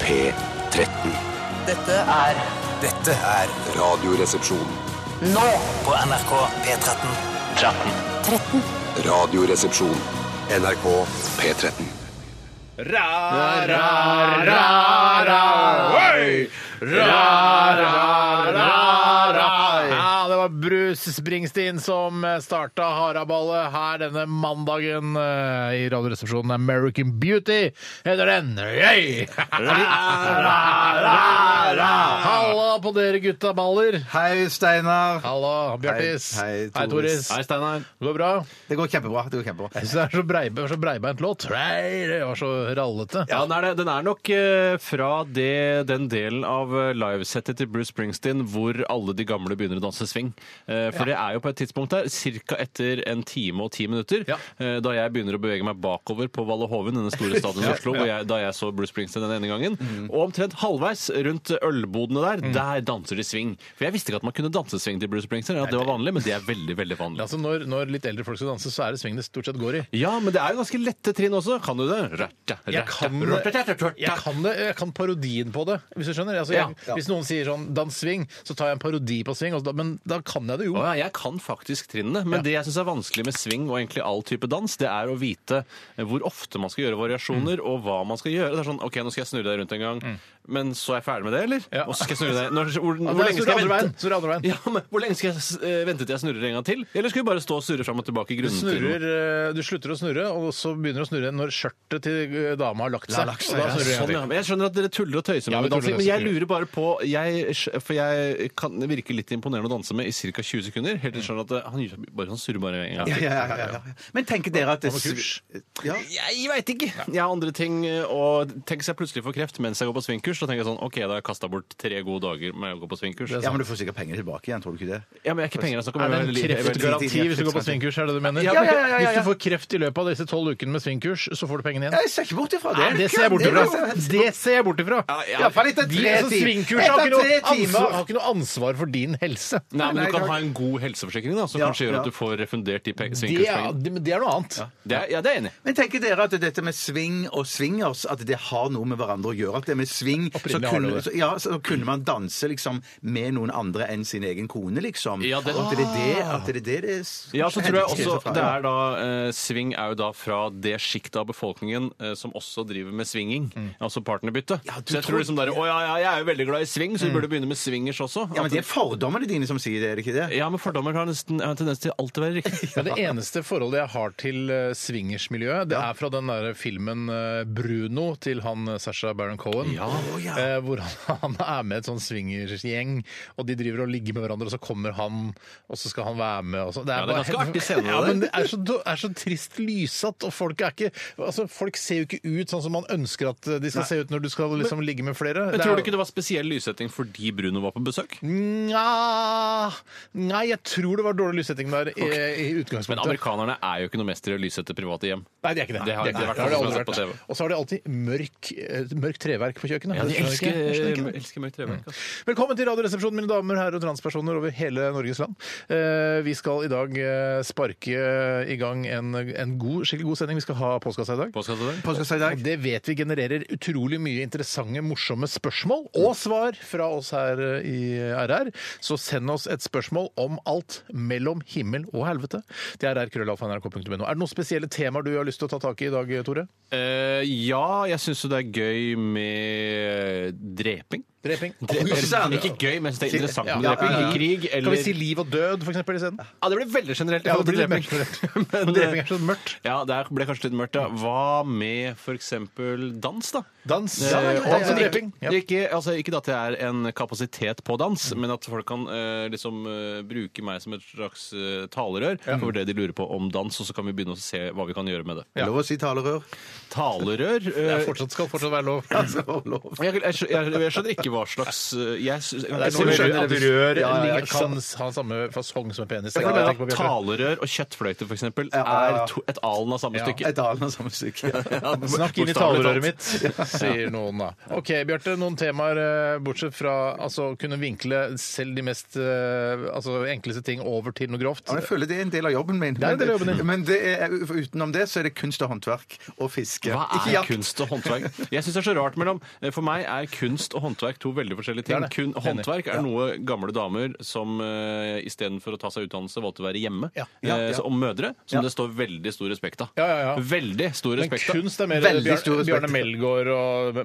P13. Dette er Dette er Radioresepsjon. nå på NRK P13. Radioresepsjon. NRK P13. Ja, det var Bruce Springsteen som starta haraballet her denne mandagen eh, i Radioresepsjonen. American Beauty heter den. Yay! Halla på dere gutta baller. Hei, Steinar. Halla, Bjartis. Hei, hei, Toris. Toris. Hei, Steinar. Det går bra? Det går kjempebra. Det går kjempebra. Jeg syns det er så, brei, det var så breibeint låt. Nei, Det var så rallete. Ja, den er, det. den er nok eh, fra det, den delen av eh, livesettet til Bruce Springsteen hvor alle de gamle begynner å danse swing. Eh, For det er jo på et tidspunkt der, ca. etter en time og ti minutter, Ja. eh, da jeg begynner å bevege meg bakover på Valle Hoven, denne store stadion i Oslo, hvor jeg, da jeg så Bruce Springsteen den ene gangen. Mm. Og omtrent halvveis rundt ølbodene der, der danser de swing. For jeg visste ikke at man kunne danse swing til Bruce Springsteen, at det var vanlig, men det er veldig, veldig vanlig. Altså, når, når litt eldre folk skal danse, så er det swing det stort sett går i. Ja, men det er jo ganske lette trinn også. Kan du det? Røtta, Jeg kan, jeg kan det, jeg kan parodien på det, hvis du skjønner. Altså, jeg, Hvis noen sier sånn 'dans swing', så tar jeg en parodi på swing, og så da, men da kan jeg det jo. Å ja, jeg kan faktisk trinnene, men det jeg syns er vanskelig med swing og egentlig all type dans, det er å vite hvor ofte man skal gjøre variasjoner, Mm. og hva man skal gjøre. Det er sånn OK, nå skal jeg snurre deg rundt en gang, men så er jeg ferdig med det, eller? Ja. Og så skal jeg snurre deg Når, hvor, Ja, det hvor er snurre lenge skal jeg andre veien, vente? snurre andre veien. Ja, men hvor lenge skal jeg s- eh, vente til jeg snurrer en gang til? Eller skal vi bare stå og surre fram og tilbake i Du, grunnturen? snurrer, eh, du slutter å snurre, og så begynner du å snurre når skjørtet til eh, dama har lagt seg. lagt seg, og da ja. snurrer jeg Sånn, ja. til. Men Jeg skjønner at dere tuller og tøyser Ja, med vi tuller dansing, og men jeg tøyser. lurer bare på jeg, For jeg kan virke litt imponerende å danse med i ca. 20 sekunder. Helt til jeg skjønner at eh, han, gjør bare, han surrer bare en gang til. Ja, ja, ja, ja, ja. Men tenker dere at det ja. Jeg veit ikke. Jeg har andre ting. eh, Og tenk seg plutselig får kreft mens jeg går på svingkurs. Da tenker jeg sånn OK, da har jeg kasta bort tre gode dager med å gå på svingkurs. ja, men du får sikkert penger tilbake igjen, tror du ikke det? Ja, men jeg er ikke penger jeg snakker Er om. det en Jeg er veldig- kreftgaranti hvis du går på svingkurs? er det det du mener? Ja, ja, ja, ja, ja. Hvis du får kreft i løpet av disse tolv ukene med svingkurs, så får du pengene igjen. Jeg ser ikke bort ifra det. Nei, det ser jeg bort ifra. Det ser jeg bort ifra. ja. Iallfall etter De tre som timer. svingkurs har ikke, Etter noe tre ansvar, timer. har ikke noe ansvar for din helse. Nei, men Nei, du kan takk. ha en god helseforsikring da, som Ja, kanskje gjør at ja. du får refundert de pe- Det er, svingkurspengene. det, men det er noe annet. Det er, ja, det er jeg enig. i. Men tenker dere at dette med swing og swingers at det har noe med hverandre å gjøre? At det med swing så Opprinnelig har kunne, det det. så, ja, så kunne man danse liksom med noen andre enn sin egen kone, liksom? Ja, det- Og at det er det at det er det, det s- Ja, så tror jeg også fra, det ja. er da eh, Sving er jo da fra det sjiktet av befolkningen eh, som også driver med svinging. Altså partnerbytte. så jeg tror liksom der, Å ja, ja, jeg er jo veldig glad i sving, så vi burde begynne med swingers også. Ja, men At- det er fordommene dine som sier det, er det ikke det? ja, men fordommer har nesten har en tendens til alltid å være riktig. Men det eneste forholdet jeg har til eh, swingersmiljøet, det er fra den der filmen eh, Bruno til han eh, Sacha Baron Cohen. Eh, hvor han, han er med et sånn swingersgjeng, og de driver og ligger med hverandre, og så kommer han, og så skal han være med. Og så. Ja, det er ganske bare- artig scene, Ja, det. men det er så, do- er så trist lysete, og folk, er ikke, altså, folk ser jo ikke ut sånn som man ønsker at de skal se ut når du skal liksom, ligge med flere. Men tror du ikke det Mm, var spesiell lyssetting fordi Bruno var på besøk? Nja Nei, jeg tror det var dårlig lyssetting der i, i utgangspunktet. Men amerikanerne er jo ikke noe mester i å lyssette private hjem. Nei, de er ikke det. Det har- De er det ikke har vært det. Det har de noe som aldri jeg har sett på vært. Og så har de alltid mørk, eh, mørkt treverk på kjøkkenet. Ja, de Jeg eh, skjønner ikke- elsker, jeg skjønner ikke det. elsker mørkt treverk. altså. Velkommen til Radioresepsjonen, mine damer, herrer og transpersoner over hele Norges land. Eh, Vi skal i dag eh, sparke i gang en, en god, skikkelig god sending. Vi skal ha postkassa i dag. Hva skal du til? Påske seg i dag. Og Det vet vi genererer utrolig mye interessante, morsomme spørsmål og svar fra oss her eh, i RR. Så send oss et spørsmål om alt mellom himmel og helvete. Det er rrkrøllalfa.nrk.no. Er det noen spesielle temaer du har lyst til å ta tak i i dag, Tore? Eh, ja, jeg syns jo det er gøy med dreping. Dreping. Dreping. Ikke gøy, men jeg synes det er interessant med Ja, dreping. ja, ja. Krig Kan eller vi si liv og død, for eksempel, isteden? Ja, det blir veldig generelt. i Ja, det forhold til blir litt dreping. mørkt. Men, Dreping eh, er så mørkt. Ja, det ble kanskje litt mørkt, ja. Hva med f.eks. dans, da? Dans. Eh, Ja, og dans og ikke- dreping. Ja. Ikke, altså, ikke at det er en kapasitet på dans, men at folk kan eh, liksom, eh, bruke meg som et slags eh, talerør for det de lurer på om dans, og så kan vi begynne å se hva vi kan gjøre med det. Ja. Lov å si talerør. Talerør eh, Det er fortsatt, skal fortsatt være lov. Altså, lov. jeg, jeg, skjø- jeg, jeg skjønner ikke hva slags eh, Jeg, sy- jeg, Det er noe jeg, vi jeg, med skjønner at det. rør Ja, ja, ligner- jeg kan- kan ha samme fasong som en penis. jeg Det er mener det jeg at tenker på, Bjarte. Talerør og kjøttfløyte for eksempel, ja, ja. er to, et alen av samme Ja. stykke. Et annet samme stykke. Ja. Snakk inn i Bokstavelig talerøret talt. mitt, sier noen da. Ok, Bjarte, noen temaer eh, bortsett fra altså, kunne vinkle selv de mest eh, altså, enkleste ting over til noe grovt. Ja, men jeg føler det er en del av jobben min. er en del av jobben din. men det er, utenom det så er det kunst og håndverk og fiske. Hva Ikke er jakt. kunst og håndverk? Jeg synes det er så rart mellom For meg er kunst og håndverk to veldig forskjellige ting. Det er det. Kun, Enig. håndverk er noe gamle damer som uh, istedenfor å ta seg utdannelse valgte å være hjemme. Ja. Ja, Eh, ja. så- og mødre, som det står veldig stor respekt av. Ja, ja, ja. Veldig stor Men respekt av. kunst er mer Veldig Bjarne, stor respekt. Bjørne Melgaard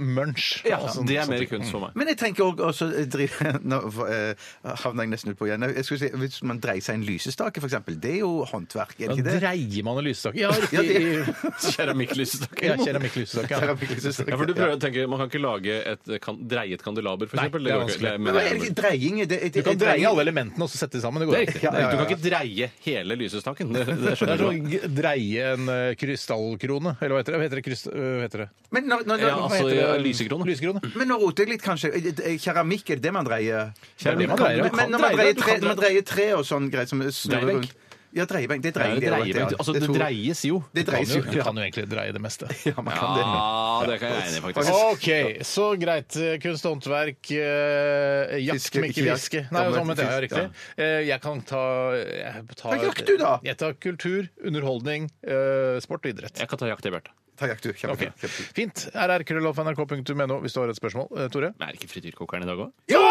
og Munch. Ja, og sånn- det er sånne mer ting. kunst for meg. Men jeg tenker også, også drive, Nå eh, havner jeg nesten ut på igjen. Jeg skulle si, Hvis man dreier seg en lysestake, f.eks., det er jo håndverk, er det Da ikke det? dreier man en lysestake. Ja, riktig. Ja, Keramikklysstak. Ja, keramikklysestake. Ja. Lysestake, Ja, for du ja. prøver å tenke, Man kan ikke lage et eh, kan, dreiet kandelaber, for Nei, eksempel. det er går ikke. vanskelig. er- men Men det hva er er det mulig. ikke dreying? Det, det, Du kan dreie alle elementene og så sette de sammen. Det Det går er an. riktig. Ja, ja, ja, Du ja. kan ikke dreie hele lysestaken. Det, det Det er skjønner du. sånn g- dreie en eh, krystallkrone, eller hva heter det? Hva heter det? Kryst, øh, hva heter det? Men når, når, når, Ja, hva altså, heter det? ja, lysekrone. Lysekrone. Men nå roter jeg litt, kanskje. Eh, eh, Keramikk, er det det man dreier? Det er det man Kan- dreier. Men, ja. kan men når man dreie det, dreier, du tre, kan når man dreie- dreier tre og sånn greit som snurrer Dreiebænk. rundt Ja, dreiebenk. Det er Nei, dreying. det, det er dreier, det, ja. altså, Det det er to- dreies jo. Det Du kan dreies jo, jo. du kan jo egentlig dreie det meste. Ja, man kan det. Ja, det kan jeg enig i, faktisk. OK, så greit. Kunst og håndverk, eh, jakt, Fiske, men ikke ikke fiske. jakt. Nei, Ja, men sånn, men det er fisk, riktig. Eh, Jeg kan ta jeg tar, Ta jakt, du, da! Jeg tar kultur, underholdning, eh, sport og idrett. Jeg kan ta jakt i Bjarte. Ta jakt, du. Kjempe, Ok, kjempe. Fint. rrkrøllalfa.nrk.no hvis du har et spørsmål. Eh, Tore? Men er det ikke frityrkokeren i dag òg? Jo!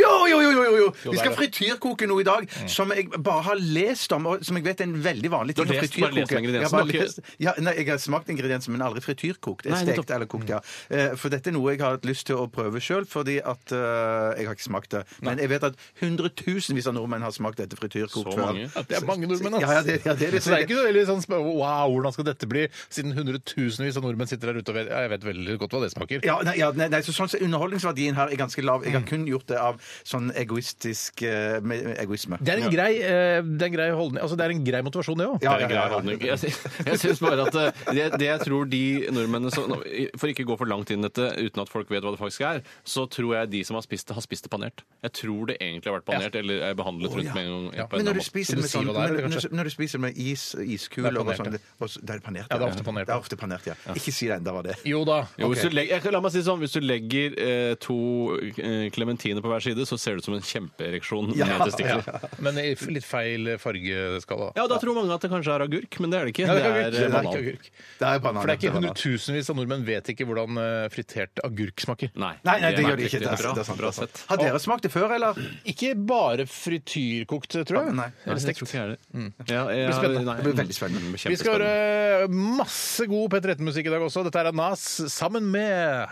Jo, jo, jo, jo, jo! Vi det er skal det. frityrkoke noe i dag som jeg bare har lest om, og som jeg vet er en veldig vanlig ting Mm. Du har å lest- bare lest om ingrediensene, Jeg har bare du har ikke- lest- Ja, nei, jeg har smakt ingrediensene, men aldri frityrkokt. Jeg Nei, nettopp. Mm. stekt eller kokt, ja. Eh, For dette er noe jeg har hatt lyst til å prøve sjøl, fordi at eh, Jeg har ikke smakt det. Men jeg vet at hundretusenvis av nordmenn har smakt dette frityrkokt Så før. mange. Ja, det er mange nordmenn, ass. Ja, ja, det, ja, det er det. Så det er ikke så veldig sånn sp- wow, hvordan skal dette bli, siden hundretusenvis av nordmenn sitter der ute og vet, ja, jeg vet veldig godt hva det smaker. Ja, nei, ja, nei, nei, så sånn så Underholdningsverdien her er ganske lav. Jeg har Mm. kun gjort det av sånn egoistisk eh, med, med egoisme. Det er en grei, eh, det er en grei holdning, altså det er en grei motivasjon det også. Ja, Det er en ja, ja, grei ja. holdning. Jeg, sy- jeg synes bare at eh, det, det jeg tror de nordmennene som nå, i- For ikke å gå for langt inn i dette uten at folk vet hva det faktisk er, så tror jeg de som har spist det, har spist det panert. Jeg tror det egentlig har vært panert eller er behandlet rundt med en gang. Ja, på en Men eller annen når du måte. spiser Så du med, sier sånn, hva det er, når, kanskje? når, når du spiser med is, iskuler Det er og panert, sånn, ja. det, og så- det er panert. Ja, det er ofte panert, Det ja. er ofte panert, ja. Ikke si det enda hva det er. Jo da. Jo, hvis Ok. du legger, jeg, la meg si det sånn, hvis du legger eh, to eh, klementiner på hver side, så ser det ut som en kjempeereksjon Ja, med testikler. Ja. Ja, men i f- litt feil eh, fargeskala. da tror mange at det kanskje er agurk, men det er det ikke. Ja, det er ikke det agurk. Det er, eh, er banan. ikke agurk. Det er banan. For det er ikke banan. hundretusenvis av nordmenn vet ikke hvordan eh, fritert agurk smaker. Nei, Nei, nei, det er gjør det merkelig. ikke. Det er, Bra, det er sant, bra det er sant. sett. Har dere smakt det før, eller? Ikke bare frityrkokt, tror jeg. Nei. Nei, Eller jeg tror stekt. ikke jeg er det. Ja, jeg, blir spennende. nei, Det blir veldig spennende. mm, Vi skal kjempespennende. høre masse god P13-musikk i dag også. Dette er Nas sammen med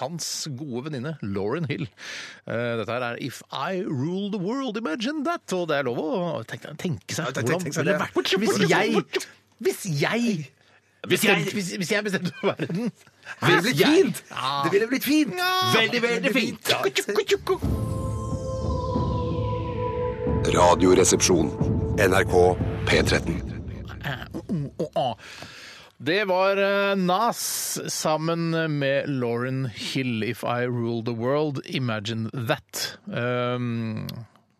hans gode venninne Lauren Hill. Eh, Dette her er If I Rule The World, Imagine That. Og det er lov å tenke, tenke seg Ja, tenk- hvordan tenk seg ville det det. vært hvis jeg Hvis jeg bestemte, hvis, hvis jeg bestemte verden Det ville blitt jeg- fint! Det ville blitt fint! Veldig, veldig fint! Ja, Radioresepsjon. NRK P13. Å, å. Det var eh, Nas sammen med Lauren Hill, 'If I Rule The World', 'Imagine That'. Um,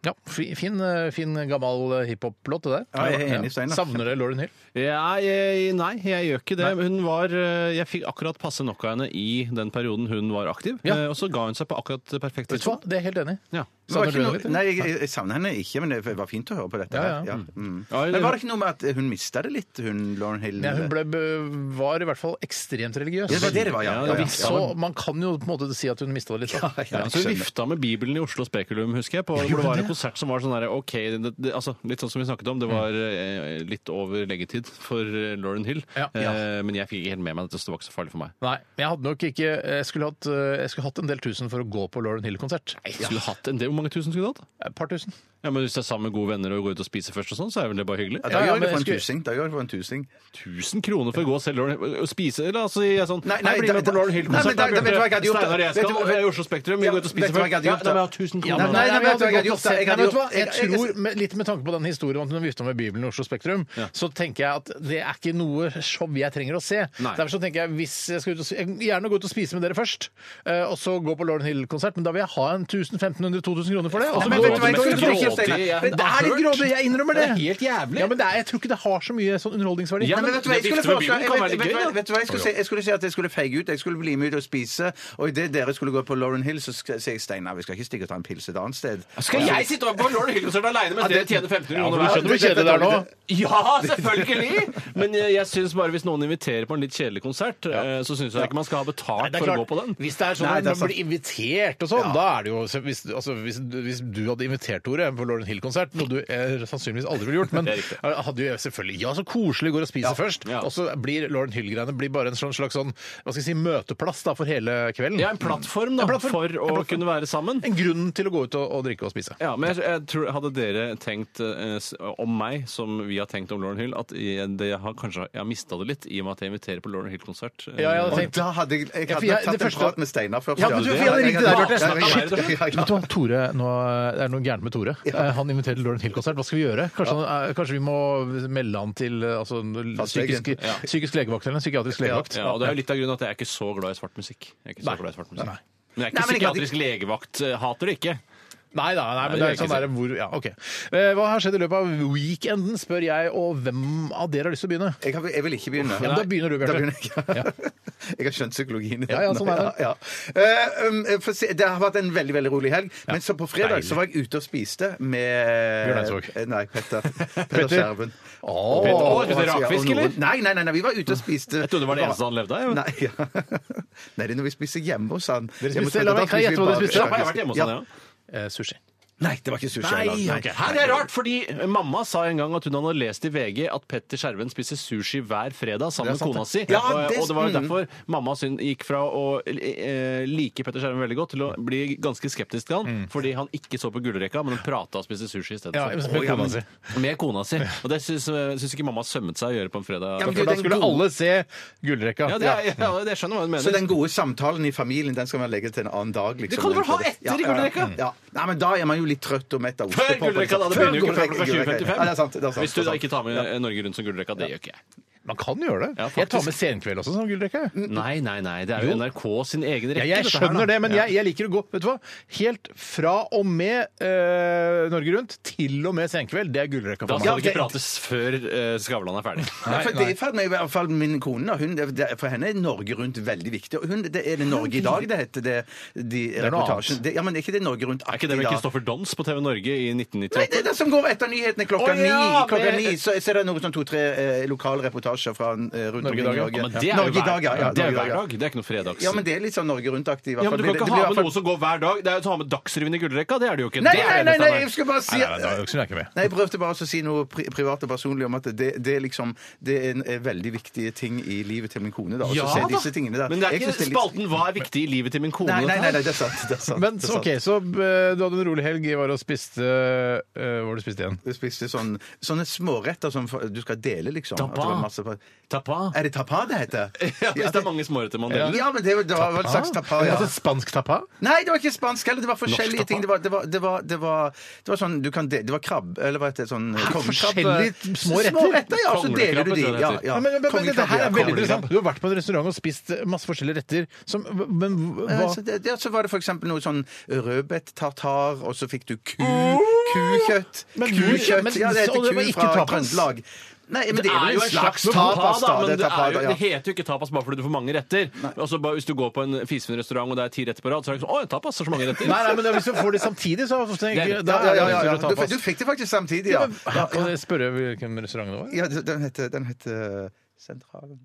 ja, fi- fin, eh, fin gammel hiphop-låt, det der. Ja, jeg er enig, Steinar. Savner det Lauren Hill? Ja, jeg, nei, jeg gjør ikke det. Hun var, eh, jeg fikk akkurat passe nok av henne i den perioden hun var aktiv. Ja. eh, Og så ga hun seg på akkurat det perfekte Vet du hva? tidspunkt. Det er jeg helt enig i. Ja. Det var Savner ikke du henne noe, litt? nei, jeg, jeg- jeg savner henne ikke, men det var fint å høre på dette. Ja, her. ja. Ja, mm. Ja, Men var det ikke noe med at hun mista det litt, hun Lauren Hill? Ja, hun ble, be- var i hvert fall ekstremt religiøs. Ja, det var det det var, ja. Ja, ja, det ja, var ja. viss- Så man kan jo på en måte si at hun mista det litt. da. Ja, Ja, så hun skjønner. vifta med Bibelen i Oslo Spekulum, husker jeg. På, hvor det var en konsert som var sånn der, OK, det, det, altså, litt sånn som vi snakket om. Det var eh, litt over leggetid for eh, Lauren Hill. Ja. Ja. Eh, men jeg fikk ikke helt med meg dette, så det var ikke så farlig for meg. Nei, men jeg hadde nok ikke Jeg skulle hatt, eh, jeg skulle hatt en del tusen for å gå på Lauren Hill-konsert. Jeg skulle hatt en del, Hvor mange tusen skulle du hatt? Et par tusen. Ja, men Hvis du er sammen med gode venner og går ut og spiser først, og sånn, så er vel det bare hyggelig? Ja, Ja, da ja, gjør jeg men det for en skulle- tusing. Da gjør jeg det for en tusing. 1000 kroner for å gå og selge Lauren og spise eller altså, jeg er sånn, Nei, nei, «Hei, bli da- med på Lauren Nei, Hill-konsert. men da- da vet du hva jeg hadde gjort, Steinar da. og jeg skal, Vet du hva- og jeg er i Oslo Spektrum, vi Ja, går ut og vet spiser du først. hva jeg hadde Ja, gjort, nei, da? men jeg har 1000 Ja, kroner. nei, nei, jeg men vet du hva jeg hadde hadde gjort, da? Jeg gått og sett- Nei, vet hadde du hva? gjort- jeg- Jeg tror, med, Litt med tanke på den historien om at hun vifta med Bibelen i Oslo Spektrum, så tenker jeg at det er ikke noe show jeg trenger å se. Nei. Derfor så tenker jeg hvis jeg skal ut og, s- jeg, gjerne gå ut og spise med dere først, eh, og så gå på Lauren Hill-konsert, men da vil jeg ha en 1500-2000 kroner for det. Og så men gå vet ut du hva, med jeg en tror ikke- grådig- Steinar, Ja, men Det er litt grådig, jeg innrømmer det. Det er helt jævlig. Ja, men det er, jeg tror ikke det har så mye sånn underholdningsverdi. Ja, Nei, men vet du hva jeg det skulle vifte med Bibelen foreslå? kan Jeg være Vet, litt gøy, vet, du da. hva- vet du hva jeg skulle si? Jeg skulle si at jeg skulle feige ut. Jeg skulle bli med ut og spise. Og idet dere skulle gå på Lauren Hill, så skal- sier jeg Steinar, vi skal ikke stikke og ta en pils et annet sted. Skal jeg sitte over på Lauren Hill-konsert alene mens dere tjener 1500 Ja, for du kroner hver? skjønner hvor kjedelig det er nå. Ja, selvfølgelig! Men jeg, jeg syns bare hvis noen inviterer på en litt kjedelig konsert, eh, så syns jeg ikke man skal ha betalt Nei, det er for å klart, gå på den. Hvis det er sånn Nei, at det er man blir invitert og sånn, da er det jo så hvis, altså, hvis, hvis du hadde invitert Tore på Lauren Hill-konsert, noe du eh, sannsynligvis aldri ville gjort, men eh, Det er hadde jo selvfølgelig Ja, så koselig, går og spiser først. Ja. Og så blir Lauren Hill-greiene blir bare en sånn slags sånn, hva skal jeg si, møteplass da, for hele kvelden. Ja, en plattform, da, En plattform. for En å plattform. kunne være sammen. En grunn til å gå ut og, og drikke og spise. Ja, men jeg, jeg tror, Hadde dere tenkt eh, s- om meg, som vi har tenkt om Lauren Hill, at jeg, det har, kanskje, jeg har mista det litt i og med at jeg inviterer på Lauren Hill-konsert? eh, Ja, jeg hadde Og tenkt da hadde jeg, Ja, jeg for hadde jeg- det tatt en første- prat med Steinar først. Ja, men du- det- vi hadde ringt deg, Bjarte. Ja, ja, Shit. ja, ja, ja. Vet du hva, Tore, nå er det noe gærent med Tore. Eh, Han inviterer til Lauren Hill-konsert. Hva skal vi gjøre? Kanskje, han, eh, kanskje vi må melde han til eh, altså, en Fastlegen. psykisk, psykisk legevakt eller en psykiatrisk legevakt? Ja, og Det er jo litt av grunnen at jeg er ikke så glad i svart musikk. Jeg er ikke så Nei. glad i svart musikk. Nei. Men jeg er ikke Nei, men jeg hadde- psykiatrisk legevakt. eh, Hater det ikke. Nei da, nei, men det er Nei, det vil jeg sånn ikke der hvor Ja, OK. Eh, Hva har skjedd i løpet av weekenden, spør jeg, og hvem av dere har lyst til å begynne? Jeg, har, jeg vil ikke begynne. Ja, men da begynner du, Da Bjarte. begynner jeg. Jeg har skjønt psykologien. i Ja, ja, den. sånn er det. Ja, ja. Eh, um, for å si- det har vært en veldig veldig rolig helg, men så på fredag Deilig. så var jeg ute og spiste Bjørn med Eidsvåg. Eh, Nei, Petter. Petter Skjerven. Åh. Petter- Å, og- spiste dere rakfisk, og noen- eller? Nei, nei, nei, nei, vi var ute og spiste Jeg trodde det var det eneste han levde av. jeg. Nei, ja. nei, det er når vi spiser hjemme hos han. Dere spiste- la meg- kan jeg gjette hva dere spiste? Ja, jeg har vært hjemme hos han, sånn, ja. Eh, sushi. Nei, det var ikke sushi. Nei, heller. ok. Her er det rart, fordi mamma sa en gang at hun hadde lest i VG at Petter Skjerven spiser sushi hver fredag sammen med sant, kona si. Ja, og, det- og det var jo mm. derfor mamma syn gikk fra å eh, like Petter Skjerven veldig godt til å bli ganske skeptisk til han, fordi han ikke så på gullrekka, men han prata og spiste sushi i stedet. Mm. Ja, med for. Å, kona si. Med kona si. Og det syns eh, syns ikke mamma sømmet seg å gjøre på en fredag. Ja, men For da den skulle gode- alle se gullrekka. Ja, det, er, ja, det skjønner jeg hva Så hun den mener. gode samtalen i familien den skal man legge til en annen dag. Liksom. Det kan du vel ha etter i gullrekka? Ja, ja. Nei, men da er man jo litt trøtt og mett av Før ostepop. gullrekka, da! Det begynner jo ikke før gullrekka, klokka gullrekka. Ja, det er sant. Det er 20.55. sant Hvis du det er da sant. ikke tar med eh, Norge Rundt som gullrekka, det gjør ikke jeg. Man kan gjøre det. Ja, jeg tar faktisk. med Senkveld også som gullrekka. jeg. Nei, nei, nei. Det er jo NRK sin egen Ja, rekke. jeg dette her, skjønner da. det, men jeg, jeg liker å gå vet du hva? helt fra og med eh, Norge Rundt til og med Senkveld. Det er gullrekka Da for meg. skal det ikke prates før eh, Skavlan er ferdig. Ja, for det faller meg i hvert fall min kone. da. Hun, det- det- for henne er Norge Rundt veldig viktig. Og Hun, det er det Norge i dag det heter, det, de er noe annet. reportasjen. Det, ja, men er ikke det Norge Rundt Er ikke det med Kristoffer Dons på TV Norge i Nei, det 1998? er det som går etter nyhetene klokka Å, ni. ja, klokka det- ni så, så er det noen sånn to-tre eh, lokale reportasjer fra eh, rundt Norge i omkring i dag, ja. Ja, men det er Norge. jo Norge i hver- dag, ja. ja, det er jo Norge i hver ja. dag. Det er ikke noe fredags... Ja, men det er litt sånn Norge Rundt-aktig. i hvert Ja, men fall. du kan Det- det ikke blir i ha med hvert fall- noe som går hver dag. Det er jo å ta med Dagsrevyen i gullrekka. Det er det jo ikke. Nei, Det er nei, det nei, nei, Steinar. jeg skulle bare si Nei, nei, da ønsker jeg ikke med. Nei, Jeg prøvde bare å si noe pri privat og personlig om at det, det, er liksom, det er en er veldig viktige ting i livet til min kone. da, og så Ja se da. disse tingene der. Men det er Jeg synes ikke litt- spalten 'Hva er viktig i livet til min kone'? Nei, nei, nei, nei, det er sant. Det er sant, Men det er så, sant. OK, så eh, du hadde en rolig helg. Var og spiste eh, Hva var det du spiste igjen? Du spiste sånn, sånne småretter som for- du skal dele, liksom. At det Tapa. var masse på- Tapa. Er det tapa det heter? Ja, hvis det er mange småretter man deler. Ja, men det, var- det var vel en slags tapa, ja. Altså, spansk tapa? Nei, det var ikke spansk heller. Det var forskjellige tapa. ting. Det var, det, var, det, var, det, var, det var sånn du kan de, Det var krabb... Eller hva heter det? Sånn kongekrabbe. forskjellige små retter? Små retter, ja, så deler Konglekrabbe, du tror de. jeg det Ja, heter. ja. Ja, men, men, men, Kongekrabbe, dette her ja, er veldig kongekrabbe. interessant. Du har vært på en restaurant og spist masse forskjellige retter som Men hva Ja, så, det, ja, så var det for eksempel noe sånn rødbett-tartar, og så fikk du ku, kukjøtt. Men du- kukjøtt. men- ja, det og det heter var ku ikke fra tapas. Trøndelag. Nei, men det er jo en slags tapa, tapas, da. men Det, det, er tapas, er jo, ja. det heter jo ikke tapas bare fordi du får mange retter. Altså, bare, hvis du går på en fisefin restaurant og det er ti retter på rad, så er det ikke sånn 'Å, tapas er så mange retter'. Nei, nei, men det- hvis du får de samtidig, så tenker Det er jeg det. da Ja, ja, er det ja, ja, lettere å ta Du, fast. du fikk det faktisk samtidig, ja. Kan jeg spørre hvilken restaurant det var? ja den heter, den heter eh, Sentralen.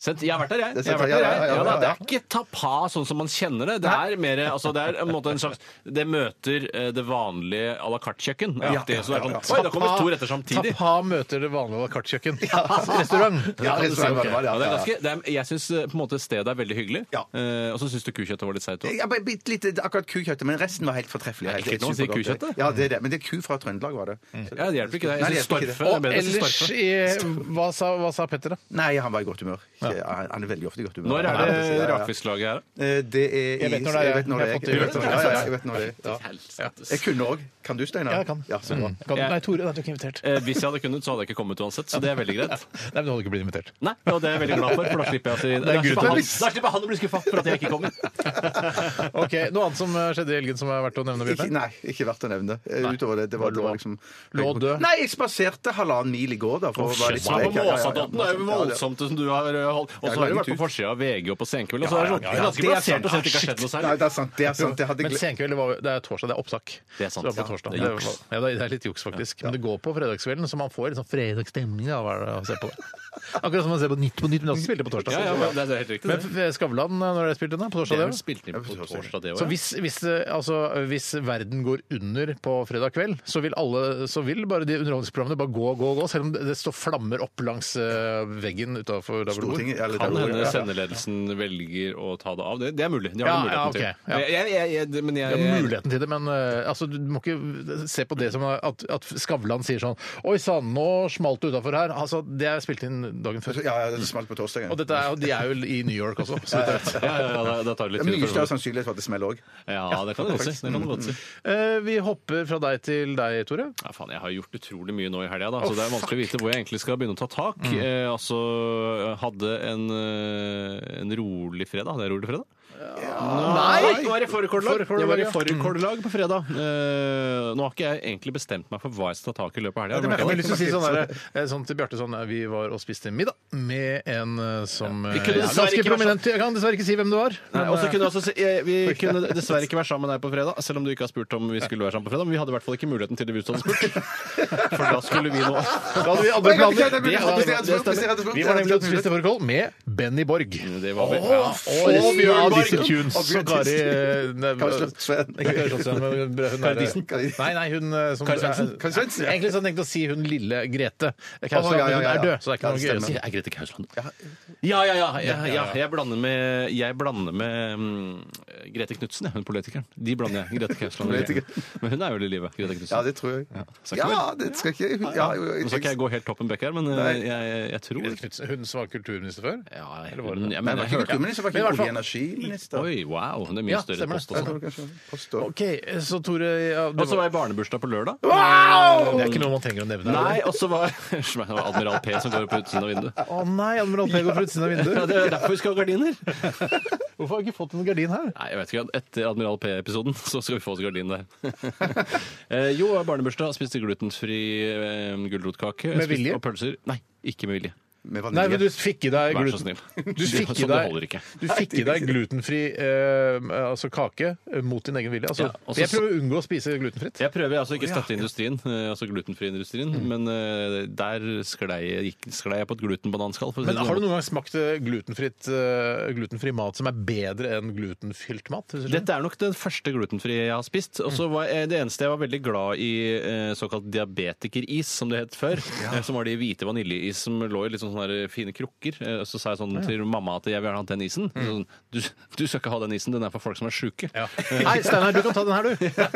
Sent- Jeg har vært der, jeg. Det er jeg har vært sant, ja, der, ja, jeg. ja, Ja, da, ja, det ja. er ikke tapa sånn som man kjenner det. Det er mer altså, det er en måte en slags Det møter eh, det vanlige à la carte-kjøkken. Ja, aktig. Så det er ja, ja. sånn Oi, da kommer to retter samtidig. Tapa møter det vanlige la carte-kjøkken. Restaurant. Ja, Ja, det restaurant, stemmer. ja, ja, ja. Ja, det er ganske, det er, jeg syns på en måte stedet er veldig hyggelig. Ja. Eh, og så syns du kukjøttet var litt seigt òg. Ja, bare bitte lite akkurat kukjøttet, men resten var helt fortreffelig. Helt ikke noe å si supergodt. kukjøttet. Ja, det er det. Men det er ku fra Trøndelag, var det. Så Ja, det hjelper ikke det. Jeg Nei, syns hjelper ikke storfe det. er Og bedre. Jeg synes ellers storfe. i Hva sa, hva sa Petter, da? Nei, han var i godt humør. Ikke- Han han er veldig ofte i godt humør. Når er Ja, ja, ja, det ja. rakfisklaget her? da? Eh, Det er i- Jeg vet når det er. Jeg vet Jeg når det er. har fått det. Jeg vet når det er. Ja, ja, jeg vet når det er. Ja. Jeg kunne òg. Kan du, Steinar? Ja, jeg kan. Ja, så bra. Kan- Nei, Tore, da er du ikke invitert. Eh, hvis jeg hadde kunnet, så hadde jeg ikke kommet uansett. Så det er veldig greit. Nei, men du hadde ikke blitt invitert. Nei, og det er jeg veldig glad for, for da slipper jeg å si er Da en grunn slipper til han- det. da slipper han å bli skuffa for at jeg ikke kommer. Ok, Noe annet som eh, skjedde i helgen som er verdt å nevne? Ikke, Bjørte? nei, ikke verdt å nevne. Eh, Utover det. Det var, det var liksom Lå død. Nei, jeg spaserte halvannen mil i går, da. For å være litt Shit, man er sprek. på Ja, ja, ja, ja. Måsadotten, det er jo voldsomt det som du har eh, holdt. Og så Jeg har du har vært på gitt ut. forsida av VG og på Senkveld, og så er det sånn ja, ja. ganske Det er plassert å si at sant. det ikke har skjedd noe Nei, særlig. det er sant. Det er sant. Jeg hadde Men glemt senkveld, det var- det er torsdag, det er opptak. Det er sant, Så det var ja. på torsdag. Det er Det juks. var- ja, det er litt juks, faktisk. Men det går på fredagskvelden, så man får litt sånn fredagsstemning av å se på. Akkurat som man ser på Nytt på Nytt, men også spiller på torsdag. Ja, ja, men det er helt riktig. Men Det, f- f- Skavlan, eh, når dere spilte den? da? På det torsdag? er det, vel vel? spilt inn på torsdag, det Så òg. hvis, hvis, eh, altså, hvis verden går under på fredag kveld, så vil, alle, så vil bare de underholdningsprogrammene bare gå, gå, gå, selv om det det står flammer opp langs eh, veggen utafor der hvor du bor. Stortinget. eller- Kan hende Ja. sendeledelsen velger å ta det av. Det, det er mulig. De har Ja, den ja, muligheten ok, ja. til. Jeg- jeg- jeg- jeg- men jeg- Det er jeg- muligheten til det, men eh, altså, du må ikke se på det som at, at Skavlan sier sånn Oi sann, nå smalt det utafor her. Altså, det er spilt inn dagen før. Ja, ja, det smalt på torsdagen. Og dette er, jo- de er jo i New York også. Så vidt jeg vet. Ja, ja, ja, da, da tar det litt Det er tid. mye før større det- sannsynlighet for at det smeller òg. Ja, det kan du godt si. Det kan du godt si. Eh, Vi hopper fra deg til deg, Tore. Ja, faen, jeg har gjort utrolig mye nå i helga, da, så det er vanskelig å vite hvor jeg egentlig skal begynne å ta tak. Eh, altså, hadde en, eh, en rolig fredag. Hadde jeg rolig fredag? Nei! Nå er det fårikållag. Fårikållag, Jeg var i ja. fårikållag på fredag. Mm. Eh, nå har ikke jeg egentlig bestemt meg for hva jeg skal ta tak i i løpet av helga. Har Jeg du merket har det? lyst til å si sånn, der, eh, sånn til Bjarte sånn eh, Vi var og spiste middag med en eh, som eh, kunne er dessverre ganske ikke vært prominent. Jeg kan dessverre ikke si hvem det var. Nei, og så kunne jeg også si, eh, vi kunne dessverre ikke være sammen med deg på fredag, selv om du ikke har spurt om vi skulle være sammen på fredag. Men vi hadde i hvert fall ikke muligheten til det hvis du hadde spurt. For da skulle vi nå Da hadde vi andre planer. Vi Det hadde- Vi var nemlig og spiste fårikål med Benny Borg. Det var vi. Ja. Og resten av Borg. disse tunes. Og Bjørn Og Kari Nei, Karlsen. Sven. Ikke Kari Slottsveen, men hun er- Disen. Nei, nei, hun eh, som Kari Svendsen. Kari Svendsen, ja. Egentlig så hadde jeg tenkt å si hun lille Grete. Å, ja, ja, Hun ja, er ja. død, så det er ikke Ja, noe det gøy å stemmer. si. Er Grete Kausland? Ja, ja, ja. ja, ja. Jeg blander med, jeg blander med mm, Grete Knutsen, ja, hun politikeren. De blander jeg. Grete Kausland. og Grete. Men hun er vel i live, Grete Ja, Knutsen. det tror jeg. Sa ikke Ja, det skal ikke ja, jo, Nå skal ikke jeg gå helt toppen bekk her, men eh, Nei. jeg, jeg tror Grete Knudsen, Hun som var kulturminister før? Ja, jeg, Eller var det det? jeg Nei, mener, var jeg ikke hørte kulturminister, var Men i ikke hvert fall- olje- og energiminister. Oi, wow! Det er mye Ja, større stemmer det. post Jeg også. tror kanskje post og- OK, så Tore ja, det Og var- så var jeg i barnebursdag på lørdag. Det er ikke noe man trenger å nevne. Nei, og så var det var Admiral P som går på utsiden av vinduet. Å nei, Admiral P går fra utsiden av Ja, vinduet. det er derfor vi skal ha gardiner. Hvorfor har vi ikke fått en gardin her? Nei, jeg vet ikke. Etter Admiral P-episoden så skal vi få oss gardin der. Eh, jo, barnebursdag. Spiste glutenfri eh, gulrotkake. Med spiste- vilje? Og pølser. Nei, ikke med vilje. med Nei, men du vanilje. fikk i deg Vær så gluten- snill. Du fikk i Sånn det deg, holder ikke. du fikk i deg glutenfri eh, altså kake eh, mot din egen vilje. Altså, Ja, og så- jeg prøver å unngå å spise glutenfritt. Jeg prøver altså ikke å støtte industrien, eh, altså glutenfri-industrien, men eh, der sklei jeg, gikk- sklei jeg på et glutenbananskall. For å si Men det har du sånn. noen gang smakt eh, glutenfritt, eh, glutenfri mat som er bedre enn glutenfylt mat? hvis du skjønner? Dette er nok den første glutenfrie jeg har spist. Og så var jeg, det eneste jeg var veldig glad i eh, såkalt diabetikeris, som det het før. eh, Som var de hvite vaniljeis som lå i litt sånn sånne der fine krukker. Eh, Så sa jeg sånn til mamma at jeg vil ha den isen. Sånn, du, du skal ikke ha den isen, den er for folk som er sjuke. Mm. Ja. Nei, Steinar, du kan ta den her, du. Jeg var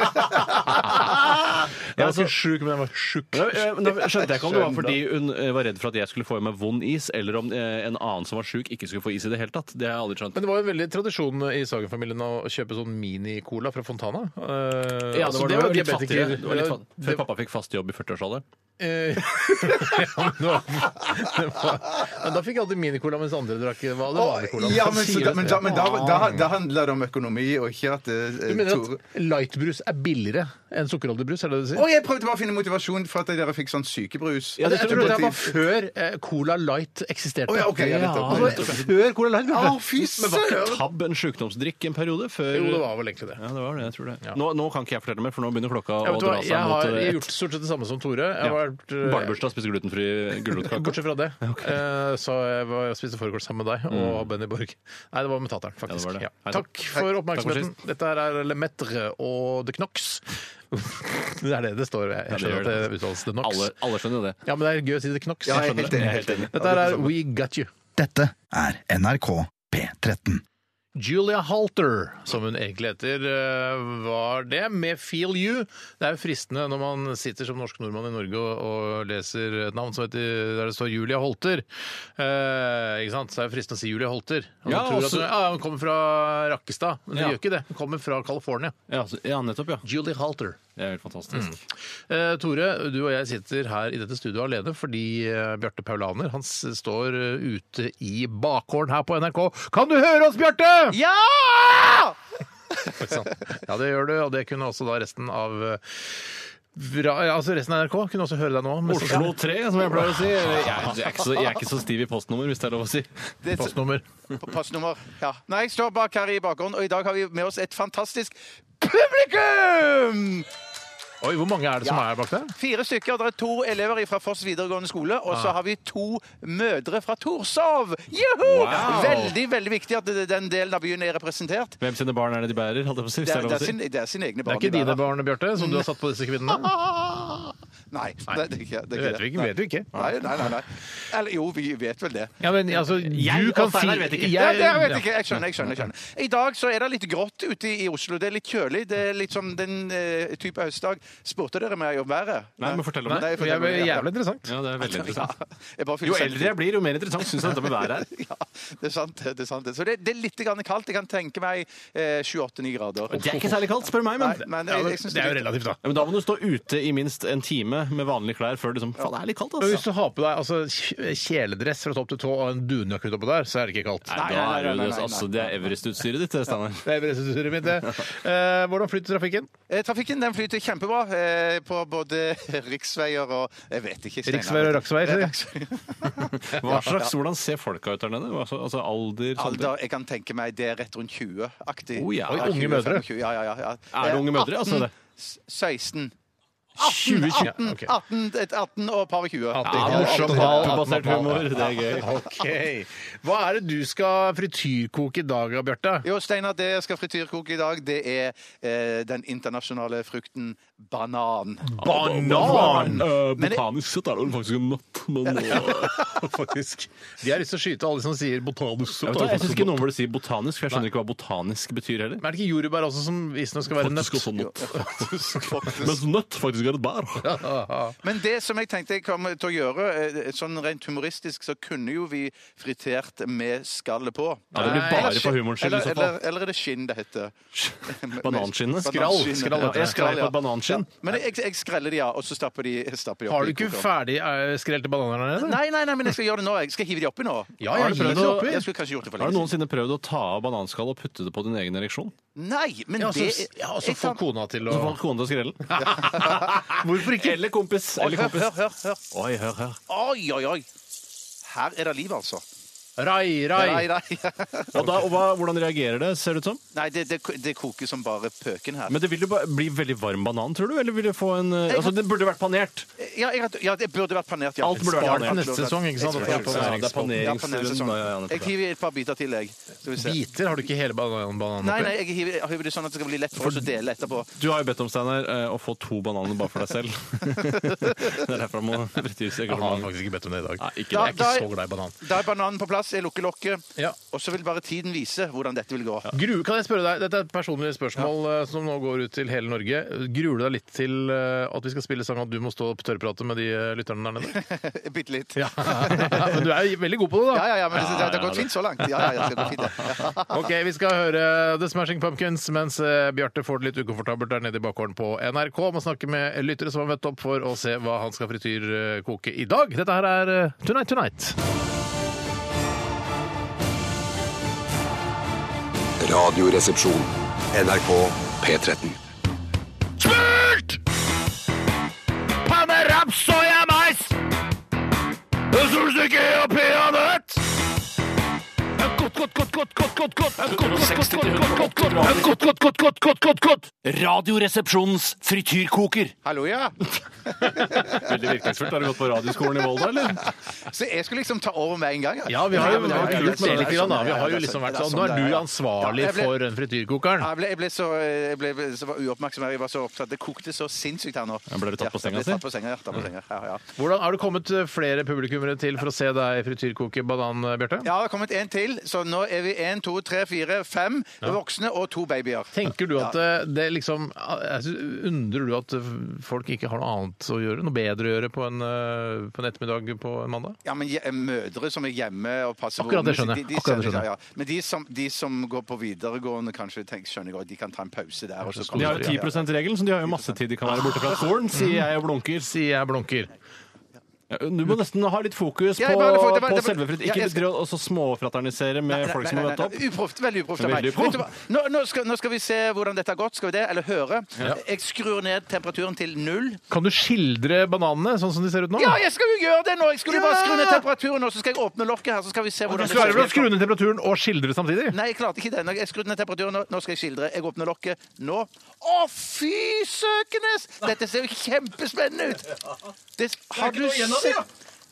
altså- ikke sjuk, men jeg var sjuk. Ja, eh, men Da skjønte jeg ikke om det var fordi hun eh, var redd for at jeg skulle få i meg vond is, eller om eh, en annen som var sjuk, ikke skulle få is i det hele tatt. Det har jeg aldri skjønt. Men det var jo veldig tradisjon i Sagen-familien å kjøpe sånn mini-cola fra Fontana. Eh, Ja, det altså, var, jo det var litt diabetiker- fattigere. Det var litt fatt- Ja, Før det- pappa fikk fast jobb i 40-årsalderen. Eh, ja, men det var- det var- men da fikk jeg alltid minicola, mens andre drakk det var- det var vanlig cola. Ja, men, så, da- men, da, men da, da, da handler det om økonomi, og ikke at eh, du mener Tore- at lightbrus er billigere enn sukkerholdig brus, er det det du sier? Og jeg prøvde bare å finne motivasjon for at dere fikk sånn sykebrus. Ja, det, jeg Etterpå tror det til- var før eh, Cola Light Å, eksisterte. ja, ok, ja, nettopp. altså, før Cola Light. Å, fy Men var ikke søren! tabb en sjukdomsdrikk en periode før Jo, det var vel egentlig det. Ja, det var det. Jeg tror det. Nå, nå kan ikke jeg fortelle mer, for nå begynner klokka Jeg, å vet du hva, dra seg jeg mot har eh, gjort stort sett det samme som Tore. Jeg Ja. har vært, eh, Barnebursdag, spise glutenfri gulrotkake. Bortsett fra det, eh, så jeg var og spiste fårikål sammen med deg og Benny Borg. Nei, det var med tateren, Mm. Ja, det faktisk. var Ja, det. Hei, takk. Takk for oppmerksomheten. Takk Dette her er Le Metre og The Knox. det er det det står. Jeg, Ja, det jeg skjønner gjør at det. det uttales The Knox. Alle, alle skjønner jo det. Ja, men det er gøy å si The Knox. Ja, jeg er helt enig, jeg er helt enig. Dette her er We Got You. Dette er NRK P13. Julia Halter, som hun egentlig heter, eh, var det, med Feel You. Det er jo fristende når man sitter som norsk nordmann i Norge og, og leser et navn som heter, der det står Julia Holter. Eh, ikke sant? Så er det fristende å si Julia Holter. Og Ja, man tror også- at, hun- ja, hun kommer fra Rakkestad, men hun Ja. gjør ikke det. Hun kommer fra California. Ja, så- ja, nettopp, ja. Julia Halter. Det er helt fantastisk. Eh, Tore, du og jeg sitter her i dette studioet alene fordi eh, Bjarte Paulaner han s- står eh, ute i bakgården her på NRK. Kan du høre oss, Bjarte?! Ja! ja, det gjør du, og det kunne også da resten av eh, ra- ja, altså Resten av NRK kunne også høre deg nå. mest Oslo sannsynlig. 3, som jeg pleier å si. Jeg, jeg, er ikke så, jeg er ikke så stiv i postnummer, hvis det er lov å si. Det er sånn Postnummer. postnummer. Ja. Nei, jeg står bak her i bakgrunnen, og i dag har vi med oss et fantastisk publikum! Oi, hvor mange er det som er bak der? Fire stykker. Det er to elever fra Foss videregående skole, og så har vi to mødre fra Torshov! Juhu! Wow! Veldig, veldig viktig at det- den delen av byen er representert. Hvem sine barn er det de bærer? Holdt jeg på å si, hvis det Det er, er det lov å er, si. sin, det er sine egne Det barn. er ikke de dine bærer. barn, Bjarte, som du har satt på disse kvinnene? Ah! Nei, det er ikke det. Det Er vet ikke vi det. ikke. Vet vi ikke. Nei, nei, nei. nei. Eller jo, vi vet vel det. Ja, men altså, Jeg du og kan si Steinar vet ikke. Ja, Jeg- det jeg vet ikke. Jeg skjønner. jeg skjønner, jeg skjønner. I dag så er det litt grått ute i Oslo. Det er litt kjølig. Det er litt som den eh, type høstdag. Spurte dere meg om været? Nei, men fortell om det. Nei, for Det er meg, ja. jævlig interessant. Ja, det er veldig interessant. Ja, jeg bare fikk Jo selvtillit. eldre jeg blir, jo mer interessant syns jeg dette med været er. Ja, det er sant. det er sant. Så det, det er litt grann kaldt. Jeg kan tenke meg eh, 7-8-9 grader. Det er ikke særlig kaldt, spør meg, men Nei, men eh, Ja, jeg, men jeg synes det er jo relativt, da. Ja, men Da må du stå ute i minst en time med vanlige klær før liksom, faen, det er litt kaldt. Og hvis Altså. du har på deg altså, kj- kjeledress fra topp til tå og en dunjakke utapå der, så er det ikke kaldt. Nei, Nei, da nei, nei, er det jo nei, det, nei, altså, det er Everest-utstyret ditt, det, Steinar. Det er dressutstyret mitt, det. Eh, hvordan flyter trafikken? Eh, Trafikken den flyter kjempebra eh, på både riksveier og Jeg vet ikke. Steinar. Riksveier og raksveier, sier du? Raksveier. Hva slags, Hvordan ser folka ut der nede? Altså, altså alder, Alder, jeg kan tenke meg det er rett rundt 20-aktig. Oh, ja. Oi, Ja, unge 20, mødre. 25, Ja, ja, ja, ja. Er det Eh, unge mødre? Altså, det? 16. 20, 20. 18, Ja, ok. 18, et 18 og par og 20. Ja, Ja, morsom åtte- ballbasert åtte- humor. Det er gøy. OK. Hva er det du skal frityrkoke i dag, Bjarte? Jo, Steinar, det jeg skal frityrkoke i dag, det er eh, den internasjonale frukten banan. Banan! Eh, Botanisk sett er det vel faktisk en nøtt, men eh, Faktisk. De har lyst til å skyte alle de som sier botanisk sett. Jeg, jeg syns ikke noen burde si botanisk, for jeg skjønner ikke hva botanisk betyr heller. Men er det ikke jordbær også som visstnok skal være nøtt? Faktisk også nøtt. Faktisk. Mens nøtt faktisk er et bær. Men det som jeg tenkte jeg kom til å gjøre, eh, sånn rent humoristisk, så kunne jo vi fritert med skallet på. Ja, det blir Nei, bare for humorens skyld i Eller, så fall. eller, eller er det skinn det heter? Bananskinnet? Skrall. Skrall Ja, heter Jeg det. skrei på ja. et bananskinn. Men jeg, jeg skreller de av, og så stapper de stapper de opp Har du i ikke koker. ferdig eh, skrelte bananer der nede? Nei, nei, nei, men jeg skal gjøre det nå. Jeg skal hive de oppi nå. Ja, jeg Har du prøvd hiver de å- oppi. Jeg skulle kanskje gjort det for Har lenge du siden. noensinne prøvd å ta av bananskallet og putte det på din egen ereksjon? Nei, men Ja, det så, ja, så jeg få kan- kona til Så å falt kona til å skrelle den? Hvorfor ikke? Eller kompis. Eller Hør, hør, kompis. hør, hør. Oi, hør, hør. Oi, oi, oi. Her er det liv, altså. Rai, Nei, rai. nei. Og, da, og hva, hvordan reagerer det, ser det ut som? nei det, det, det koker som bare pøken her. Men det vil jo bare bli veldig varm banan, tror du? Eller vil det få en eh, Altså, det burde vært panert. Ja, jeg, ja, det burde vært panert. Ja. Alt burde vært Ja, panert. absolutt. Neste sesong, ikke sant? Jeg Ja, tror det. det er panering. Ja, panersesong. Ja, ja, nettopp, Jeg ja. hiver et par biter til, jeg. Så vi ser. Biter har du ikke hele bananen bananen Nei, oppi? nei, jeg hiver, jeg hiver det sånn at det skal bli lett for oss å dele etterpå. Du har jo bedt om, Steinar, eh, å få to bananer bare for deg selv. det er derfor han må Jeg frityrse har engasjementet. faktisk Mm. ikke bedt om det i dag. Nei, ikke jeg er det. ikke så glad i banan. Da er bananen på plass, jeg lukker lokket, Ja. og så vil bare tiden vise hvordan dette vil gå. Gru, kan jeg spørre deg, Dette er et personlig spørsmål eh, som nå går ut til hele Norge. Gruer du deg litt til eh, at vi skal spille sang at du må stå og tørrprate med de eh, lytterne der nede? Bitte litt. Ja. Men du er jo veldig god på det, Ja, da. ja, ja, men det, det, det ja, har gått det- fint så langt. Ja, ja, ja, det går fint, det. Ok, Vi skal høre The Smashing Pumpkins mens eh, Bjarte får det litt ukomfortabelt der nede i bakgården på NRK. Må snakke med lyttere som har møtt opp for å se hva han skal frityrkoke i dag. Dette her er eh, Tonight Tonight. Radioresepsjon. NRK P13. Smurt! Radioresepsjonens frityrkoker. Hallo, ja. Veldig virkningsfullt. Har du gått på radioskolen i Volda, eller? Så jeg skulle liksom ta over med en gang? ja. Ja, vi har jo, men vi har det er jo jo kult med litt, grann, da. Vi har jo liksom vært Det er sånn Nå er det du ja. ansvarlig Ja, jeg ble- for den frityrkokeren. Ja, Jeg ble, jeg ble så, jeg ble, så var uoppmerksom her. Jeg var så opptatt. Det kokte så sinnssykt her nå. Ja, ble du tatt på senga Ja, jeg si? ble tatt på senga, ja, tatt på senga. Ja, ja. Hvordan Har det kommet eh, flere publikummere til for å se deg frityrkoke banan, eh, Bjarte? Ja, det har kommet en til, så nå er vi en, to, tre, fire, fem voksne og to babyer. Tenker du at eh, det liksom jeg synes- Undrer du at eh, folk ikke har noe annet å gjøre? Noe bedre å gjøre på en, eh, på en ettermiddag på en mandag? Ja, men je- mødre som er hjemme og passer på Akkurat det ungene, skjønner de- jeg. de Akkurat det skjønner jeg. ja, ja. Men de som, de som går på videregående, kanskje tenk, skjønner jeg godt, de kan ta en pause der. Og så De har kommer- jo 10 %-regelen, så de har jo masse tid de kan være borte fra skolen, sier jeg og blunker. Sier jeg blunker. Ja, Du må nesten ha litt fokus på, Ja, jeg bare- det var- på det var- selve fritt. Ja, Ikke jeg skal- drive og så småfraternisere med folk som har møtt opp. Uproft, veldig uproft av meg. Veldig uproft. Vet du hva? Nå, nå, skal, nå skal vi se hvordan dette har gått. Skal vi det? Eller høre? Jeg skrur ned temperaturen til null. Kan du skildre bananene sånn som de ser ut nå? Ja, jeg skal jo gjøre det nå! Jeg skulle bare skru ned temperaturen, og så skal jeg åpne lokket her, så skal vi se hvordan Du klarer vel å skru ned temperaturen og skildre samtidig? Nei, jeg klarte ikke det. Nå- Jeg skrudde ned temperaturen. Nå, nå skal jeg skildre. Jeg åpner lokket nå. Å, fy søkenes! Dette ser jo kjempespennende ut! Det, har du sett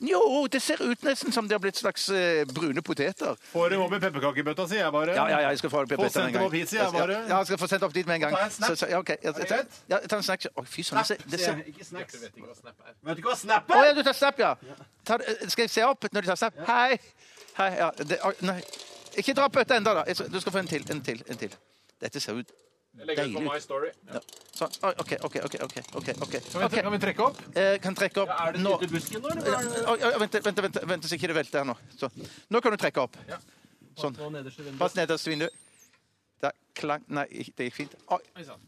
Jo, det ser ut nesten som det har blitt slags eh, brune poteter. Får dem opp i pepperkakebøtta, sier jeg bare. Ja, ja, ja, jeg skal få det på sendt pizzaen en dem gang. opp hit, sier jeg bare. Ja, jeg skal få sendt opp dit med en gang. Ta en snap. Så, så, ja, ok. Ja, ta, greit? ja, ta en snack. Å, fy søren. det ser- det ser- Ikke snacks. Vet du ikke hva snap Å ja, du tar snap, ja. Ta, eh, skal jeg se opp når du tar snap? Hei. Hei, ja. Det, å, nei. Ikke dra på dette ennå, da. Jeg skal- Du skal få en til. En til. en til. Dette ser ut deilig ut. Ja. Sånn. Oi, OK, OK. ok, ok, ok, ok. Ok, Kan vi trekke opp? eh, Kan trekke opp nå. Oi, busken nå, oi, oi, Vent, vent, vent, vent, så ikke det velter her nå. Sånn. Nå kan du trekke opp. Sånn. Pass nederst i vinduet. Der. Klang Nei, ikke- det gikk fint. Oi. sånn.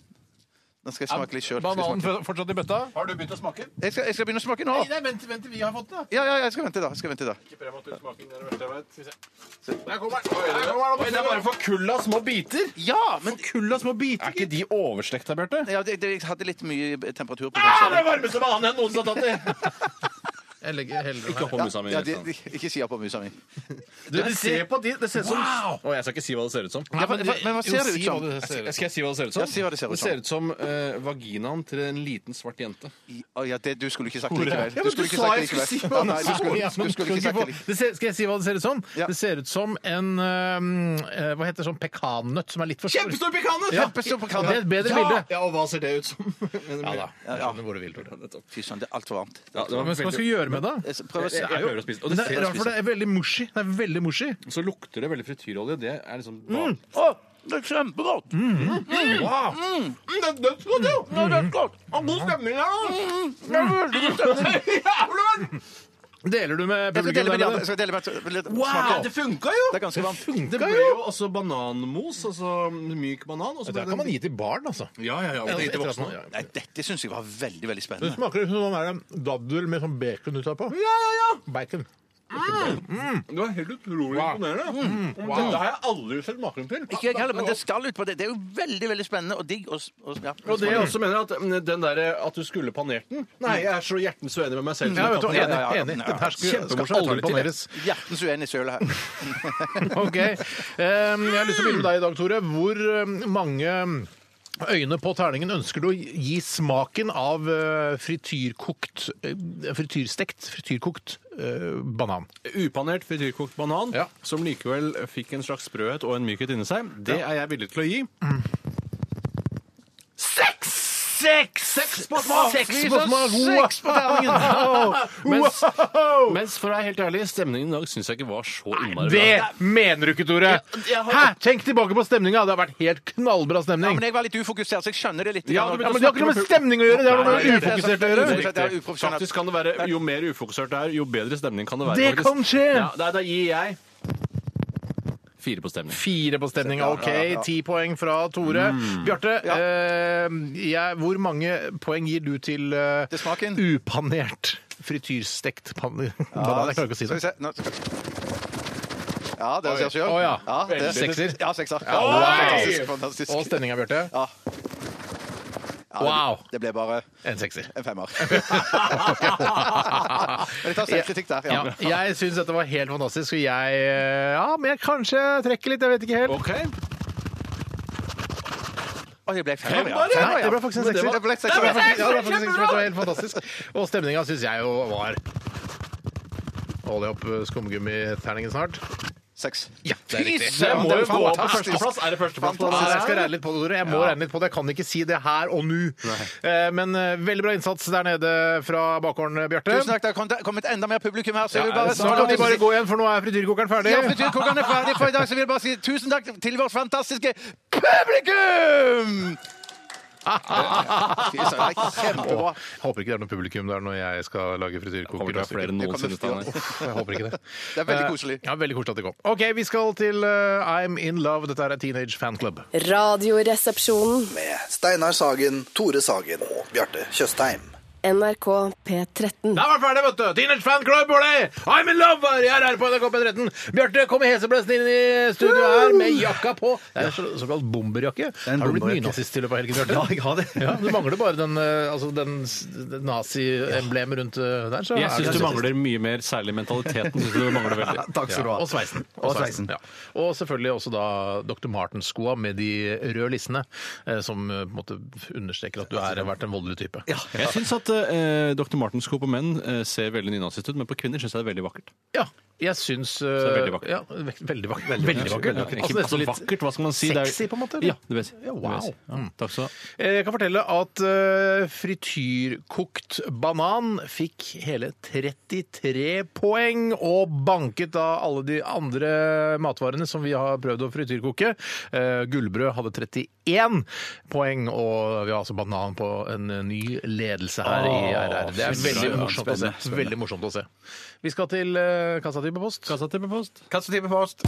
Nå skal jeg smake litt sjøl. Bananen for- fortsatt i bøtta? Har du begynt å smake? Jeg, skal- jeg skal begynne å smake nå. Nei, vent, vent, vi har fått det. Ja, ja, jeg skal vente, da. Jeg skal vente da. Ikke prematur smaking, det er det verste jeg vet. Skal vi se. Der kommer den. Oi, der kommer den opp. Det er bare for kull av små biter. Ja, men Kull av små biter. Er ikke de overslekta, Bjarte? Ja, det, det, jeg hadde litt mye temperatur på Ah, den. det er varmeste bananen jeg noensinne har tatt i. Jeg legger heller den her. på musa Ja, de, de, ikke si ja på musa mi. Du, de ser på de, det ser ut som wow. Å, Jeg skal ikke si hva det ser ut som. Nei, men- men hva jo, ser det ut si som? hva det ser ut som? Skal jeg si hva det ser ut som? Ja, si hva det ser ut som. Det ser ut som eh, vaginaen til en liten svart jente. I- Å, ja, det, du skulle ikke sagt det likevel. Ja, men du skulle ikke sa sagt det jeg skulle si likevel. hva Ja, nei, det du så skulle, ut som. du skulle ikke sagt det likevel. Det ser- Skal jeg si hva det ser ut som? Ja. Det ser ut som en øhm, eh, Hva heter det sånn pekannøtt som er litt for stor? pekane! Ja. Kjempestor Det er pekannøtt! et bedre bilde. Ja, og hva ser det ut som? ja da. Jeg skjønner hvor du vil, Tore. Fy søren, det er altfor varmt. Ja, det var Men hva skal man veldig... skal gjøre med det? Jeg s- Prøv å se. Jeg prøver å spise. Og Men Det det er ser rart, for det er veldig mushy. Det er veldig mushy. Så lukter det veldig frityrolje. Det er liksom Å, det er kjempegodt! Mm. Wow! Mm. det er dødsgodt, jo! Ja, det er godt! Og god stemning her, da! Det er veldig god stemning. Deler du med Jeg skal dele publikum? med de andre. eller? Jeg skal dele med jeg litt- Wow, smake. det funka jo! Det er ganske varmt. Det ble jo også bananmos, altså myk banan. Og så Det ble her kan man gi til barn, altså. Ja, ja, ja. og det gir til Etter at voksne. man- Nei, dette syns jeg var veldig, Det veldig spennende. smaker som sånn der daddel med sånn bacon utapå. Ja, ja, ja. Bacon. Det var helt utrolig imponerende. Mm. Wow. Dette har jeg aldri sett maken til. Ikke jeg heller, men det skal ut på det. Det er jo veldig, veldig spennende og digg. Og, s- og, s- ja. Og det jeg også mener at mm, den der, at du skulle panert den Nei, jeg er så hjertens uenig med meg selv. Ja, vet du, ja, ja, enig. ja. enig. Den her skal, skal Kjempemorsomt. aldri paneres. Hjertens uenig søl her. Ok. Ehm, jeg har lyst til å begynne med deg i dag, Tore. Hvor ehm, mange øyne på terningen ønsker du å gi smaken av eh, frityrkokt eh, Frityrstekt, frityrkokt eh, banan? Upanert frityrkokt banan, Ja. som likevel fikk en slags sprøhet og en mykhet inni seg, det er jeg villig til å gi. Seks! Seks! Seks på smak! Seks på smak! Seks på terningen! Mens, mens for å være helt ærlig, stemningen i dag syns jeg ikke var så innmari bra. Det mener du ikke, Tore! Hæ? Tenk tilbake på stemninga! Det har vært helt knallbra Ja, stemning. men jeg var litt ufokusert, så jeg skjønner det litt. Ja, grann. du Ja, begynte men Det å har ikke noe med stemning å gjøre! Det har noe Nei, med det er- ufokusert å gjøre. Det er- det er Riktig. uprofesjonelt. Faktisk kan det være, Jo mer ufokusert det er, jo bedre stemning kan det være. Det faktisk. kan skje! Ja, da, da gir jeg fire på stemning. Fire på stemninga. OK, ti poeng fra Tore. Bjarte, eh, jeg, hvor mange poeng gir du til, eh, Til smaken? upanert frityrstekt panne... Banan, jeg klarer ikke å si Skal det. vi se. Nå skal... Ja, dere ser sjøl. Å, ja. det- Sekser. Ja, sekser. Oi! fantastisk, fantastisk. Og stemninga, Bjarte? Ja. Ja, det- Wow. Det ble bare En sekser. en femmer. Men jeg tar selvkritikk der. Ja, Ja. jeg syns dette var helt fantastisk, og jeg eh, Ja, men jeg kanskje trekker litt, jeg vet ikke helt. OK. Oi, det ble femmer, Femmer, ja. ja. Femmer, Nei, det ble faktisk en Det sekser. ble en Det sekser. var faktisk- ja, det var faktisk en sekser, det var helt fantastisk. Og stemninga syns jeg jo var Holder jeg opp skumgummiterningen snart? Seks. Ja, det er riktig. Det må jo var gå av på fantastisk. førsteplass. Er det førsteplass? på Ja, den jeg skal her? regne litt på det, Tore. Jeg må regne litt på det. Jeg kan ikke si det her og nå. Eh, Men eh, veldig bra innsats der nede fra bakgården, eh, Bjarte. Tusen takk, det har kom- kommet enda mer publikum her. Så jeg vil Ja, bare, Nå kan vi bare gå igjen, for nå er frityrkokeren ferdig. Ja, frityrkokeren er ferdig for i dag, så jeg vil bare si tusen takk til vårt fantastiske publikum! Fy søren, det er Kjempebra. Åh, jeg håper ikke det er noe publikum der når jeg skal lage Kommer frityrkoker. til å være flere enn Det kommer noensinne. flere. Stanley. Uff, Jeg håper ikke det. Det er veldig Eh, koselig. Ja, veldig koselig at det kom. OK, vi skal til eh, I'm In Love. Dette er Teenage Fan Club. Radioresepsjonen. Med Steinar Sagen, Tore Sagen og Bjarte Tjøstheim. NRK P13. Da var vi ferdig, vet du! Teenage Fan Club var det! I'm in love! Jeg er her på NRK P13. Bjarte kom i hesebløsen inn i studio her med jakka på. Det er så, såkalt bomberjakke. er en Har du blitt bomberjakke. nynazist i løpet av helgen, Bjarte? Ja, jeg har det. Ja, du mangler bare den, eh, altså, den s- den nazi-emblemet rundt eh, der. Så Jeg er syns nazist. du mangler mye mer, særlig mentaliteten. Synes du mangler veldig. Takk skal du ha. Og sveisen. Og sveisen. Ja. og selvfølgelig også da Dr. Martens-skoa med de røde lissene, eh, som eh, på en måte understreker at du er vært en voldelig type. Ja, Jeg syns at eh, Dr. Martens sko på menn eh, ser veldig nynazist ut, men på kvinner syns jeg det er veldig vakkert. jeg syns eh, Så veldig vakkert. Ja, ve veldig vakkert. Veldig, Veldig vakkert. Altså, Ikke nesten altså, litt- vakkert, hva skal man si? Det er- sexy, på en måte, eller? Ja, du vet. Ja, wow. Du vet. Mm. Takk skal du ha. Eh, Jeg kan fortelle at eh, frityrkokt banan fikk hele 33 poeng og banket da alle de andre matvarene som vi har prøvd å frityrkoke. Eh, Gullbrød hadde 31 poeng, og vi har altså banan på en ny ledelse her i RR. Det er veldig morsomt å se. Veldig morsomt å se. Vi skal til eh, kassa til på post. Kassa til på post. Kastetime post.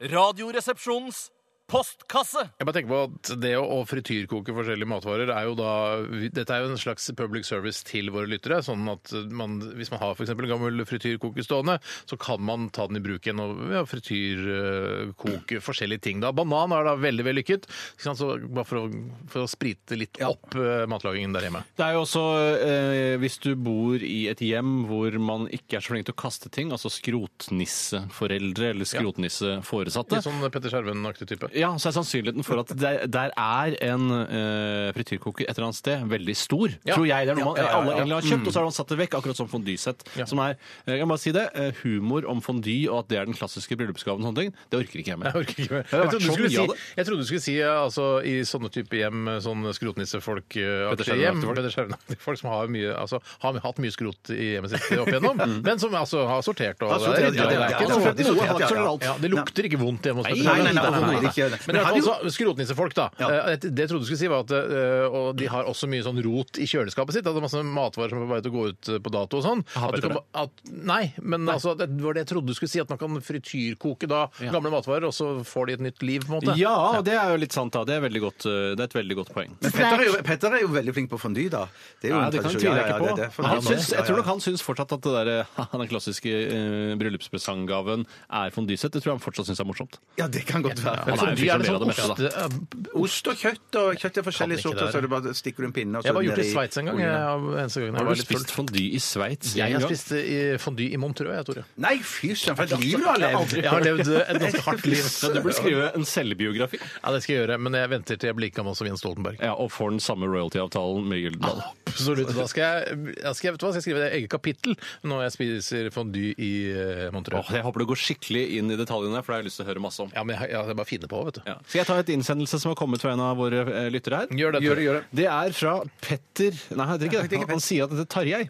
Radioresepsjonens postkasse. Jeg bare tenker på at Det å å frityrkoke forskjellige matvarer er jo da vi- Dette er jo en slags public service til våre lyttere. sånn at man, Hvis man har for eksempel en gammel frityrkoker stående, så kan man ta den i bruk igjen og ja, frityrkoke forskjellige ting. da. Banan er da veldig vellykket. ikke sant? Så bare for å, for å sprite litt opp eh, matlagingen der hjemme. Det er jo også, eh, hvis du bor i et hjem hvor man ikke er så flink til å kaste ting, altså skrotnisseforeldre eller skrotnisseforesatte, Litt sånn Petter Skjerven-aktig type. ja, så er sannsynligheten for at der, der er en eh, frityrkoker et eller annet sted veldig stor, Ja. tror jeg. Det er noe man Ja, ja, ja, alle ja. Mm. egentlig har kjøpt, og så har man satt det vekk, akkurat som fondysett, Ja. som er, eh, jeg kan bare si det, eh, humor om fondy og at det er den klassiske bryllupsgaven og sånne ting, det orker ikke jeg med. Jeg orker ikke mer. har Jeg vært trodde du så skulle mye si, av det. jeg trodde du skulle si ja, altså, i sånne type hjem, sånn Petter skrotnissefolk-aktige Schjerven-aktige hjem, folk. Petter Schjerven-aktige folk som har, mye, altså, har hatt mye skrot i hjemmet sitt opp igjennom, men som altså har sortert og Har sortert, det er- ja, det er ikke ja, ja, noe- sortert, noe- sortert, ja, ja. ja, Det lukter ikke vondt hjemme hos Petter nei, Schjerven. nei, nei, overhodet ikke. Men i Men hvert fall har så skrotnissefolk, da. Eh, Det jeg trodde du skulle si, var at eh, og de har også mye sånn rot i kjøleskapet sitt. At det er masse matvarer som er på vei til å gå ut eh, på dato og sånn. At du Petter kan ba- at, nei, men altså det var det jeg trodde du skulle si, at man kan frityrkoke da gamle matvarer, og så får de et nytt liv, på en måte. Ja, og det er jo litt sant da, det er, veldig godt, eh, det er et veldig godt poeng. Men Petter er, jo, Petter er jo veldig flink på fondy, da. Det er jo Ja, en det kan jeg tradisjon. tvile Ja, ja, ikke på. det er derfor han han- syns, Ja, jeg ja. tror nok han syns fortsatt at det der, den klassiske eh, bryllupspresanggaven er fondysett. Det tror jeg han fortsatt syns er morsomt. Ja, det kan godt være. Han er For jo de liksom er det mer av sånn det meste, da. ost- eh, Ost og kjøtt og kjøtt er forskjellige Kan ikke sorter, det så der. du bare stikker du en pinne og så Jeg var gjort i ned Sveits en gang. oljene. Jeg, eneste gangen jeg Har var du litt full. spist fondy i Sveits? Jeg en har gang? spist eh, fondy i Montreux, jeg, Tore. Nei, fy søren, for et liv du har levd! Jeg har levd eh, et ganske hardt liv. Ja, du burde skrive en selvbiografi. Ja, det skal jeg gjøre, men jeg venter til jeg blir like gammel som Jens Stoltenberg. Ja, Og får den samme royalty-avtalen med Gyldendal. Absolutt. Da skal jeg, jeg skal, vet du hva, skal jeg skrive et eget kapittel når jeg spiser fondy i eh, Montreux. Åh, jeg håper du går skikkelig inn i detaljene, der, for det har jeg lyst til å høre masse om. Ja, men jeg, jeg bare finner på, vet du. Ja. Skal jeg ta et innsendelse som har kommet fra en av våre eh, lyttere her? Gjør det, Tore. Det er fra Petter Nei, han heter ikke det. Han sier at det heter Tarjei.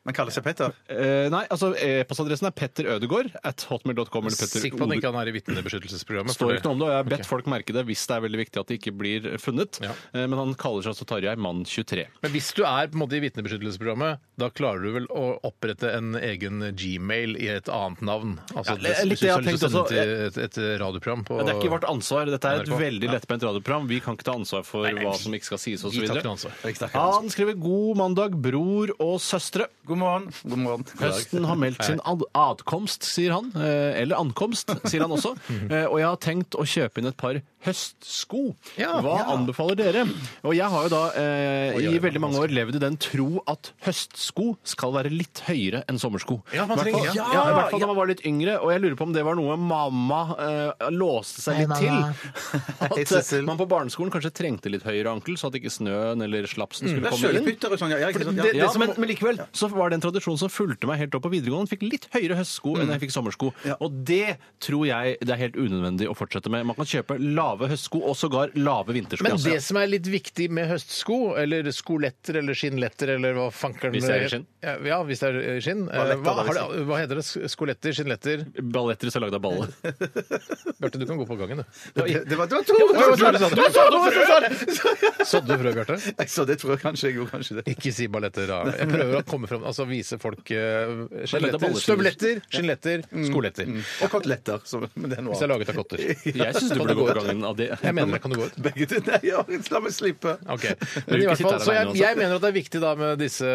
Man kaller seg Petter. Eh, nei, altså e-postadressen er petterødegård at hotmail.com eller Petter Sikker på at Ode- han ikke er i vitnebeskyttelsesprogrammet. for står ikke noe om det, og jeg har bedt Ok. folk merke det hvis det er veldig viktig at det ikke blir funnet. Ja. Eh, Men han kaller seg altså Tarjei Mann 23. Men hvis du er på en måte i vitnebeskyttelsesprogrammet, da klarer du vel å opprette en egen gmail i et annet navn? Altså, Ja, litt hvis du det jeg har lyst til å tenkte sende den til et, et radioprogram på Men det er ikke vårt ansvar. Dette er et NRK. veldig lettbent radioprogram. Vi kan ikke ta ansvar for hva som ikke skal sies Vi osv. tar ikke noe ansvar. Han skriver 'God mandag, bror og søstre'. God morgen. God morgen. Høsten har meldt sin ad adkomst, sier han. Eh, eller ankomst, sier han også. Mhm. Eh, og jeg har tenkt å kjøpe inn et par høstsko. Ja. Hva Ja. anbefaler dere? Og jeg har jo da eh, Oi, oi, i oi, veldig mange år levd i den tro at høstsko skal være litt høyere enn sommersko. Ja, man I hvert fall- trenger- ja, ja. I hvert fall da man var litt yngre. Og jeg lurer på om det var noe mamma eh, låste seg litt til. Hei, At eh, Cecil. man på barneskolen kanskje trengte litt høyere ankel, så at ikke snøen eller Mm. slapsen Det skulle er komme inn. Sølepytter og sånn, ja. ja, ikke sant, ja. Det, det, Ja, som, men, men likevel så var det en tradisjon som fulgte meg helt opp på videregående. Fikk litt høyere høstsko enn jeg fikk sommersko. Og det tror jeg det er helt unødvendig å fortsette med. Man kan kjøpe lave høstsko og sågar lave vintersko. Men det som er litt viktig med høstsko, eller skoletter eller skinnletter eller hva fankeren Hvis det er i heter- skinn. Ja, Ja, hvis det er i skinn. Eh, Balletter, Hva, da, har hvis det, hva heter det? Skoletter? Skinnletter? Altså, Balletter som er lagd av baller. Bjarte, du kan gå på gangen, du. Det, det, var, det var to! Sådde du frø, Bjarte? Jeg så det tror jeg kanskje jeg gjorde. kanskje det. Ikke si balletter, da. Jeg prøver å komme fram, altså vise folk eh, skjeletter. balletter. Mm. Støvletter, skinnletter, skoletter. Og koteletter. så- Men det er noe Hvis jeg er annet. laget av kotter. Jeg syns du Kan burde gå gå på ut? gangen av det. Jeg mener det. Kan du gå ut? Begge til Nei, ja, la meg slippe. Ok, vil men i ikke hvert sitte fall, her så jeg, alene også. jeg mener at det er viktig da med disse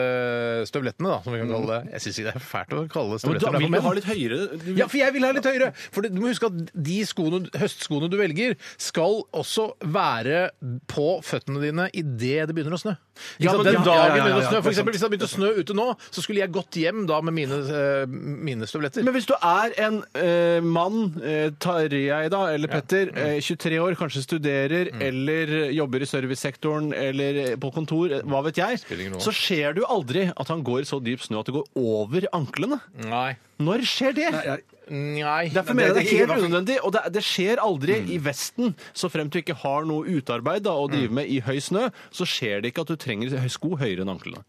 støvlettene, da, som vi kan kalle det. Jeg syns ikke det er fælt å kalle det Men da støvletter. vil men- du ha litt høyere du vil- Ja, for jeg vil ha litt høyere! For det- du må huske at de skoene, høstskoene du velger, skal også være på føttene dine idet det begynner å snø. Ikke Ja, sant? men- Den ja, ja, ja, dagen ja, begynner å ja, snø. For det er eksempel, hvis det hadde begynt å snø ute nå, så skulle jeg gått hjem da med mine, eh, mine støvletter. Men hvis du er en eh, mann, eh, Tarjei da, eller Petter, Mm. eh, 23 år, kanskje studerer eller jobber i servicesektoren eller på kontor, eh, hva vet jeg, ingen rolle. så ser du aldri at han går i så dyp snø at det går over anklene. Nei. Når skjer det? Nei. Derfor mener jeg det er helt unødvendig, og det, det skjer aldri Mm. i Vesten. Så fremt du ikke har noe utarbeid da, å drive med i høy snø, så skjer det ikke at du trenger sko høyere enn anklene.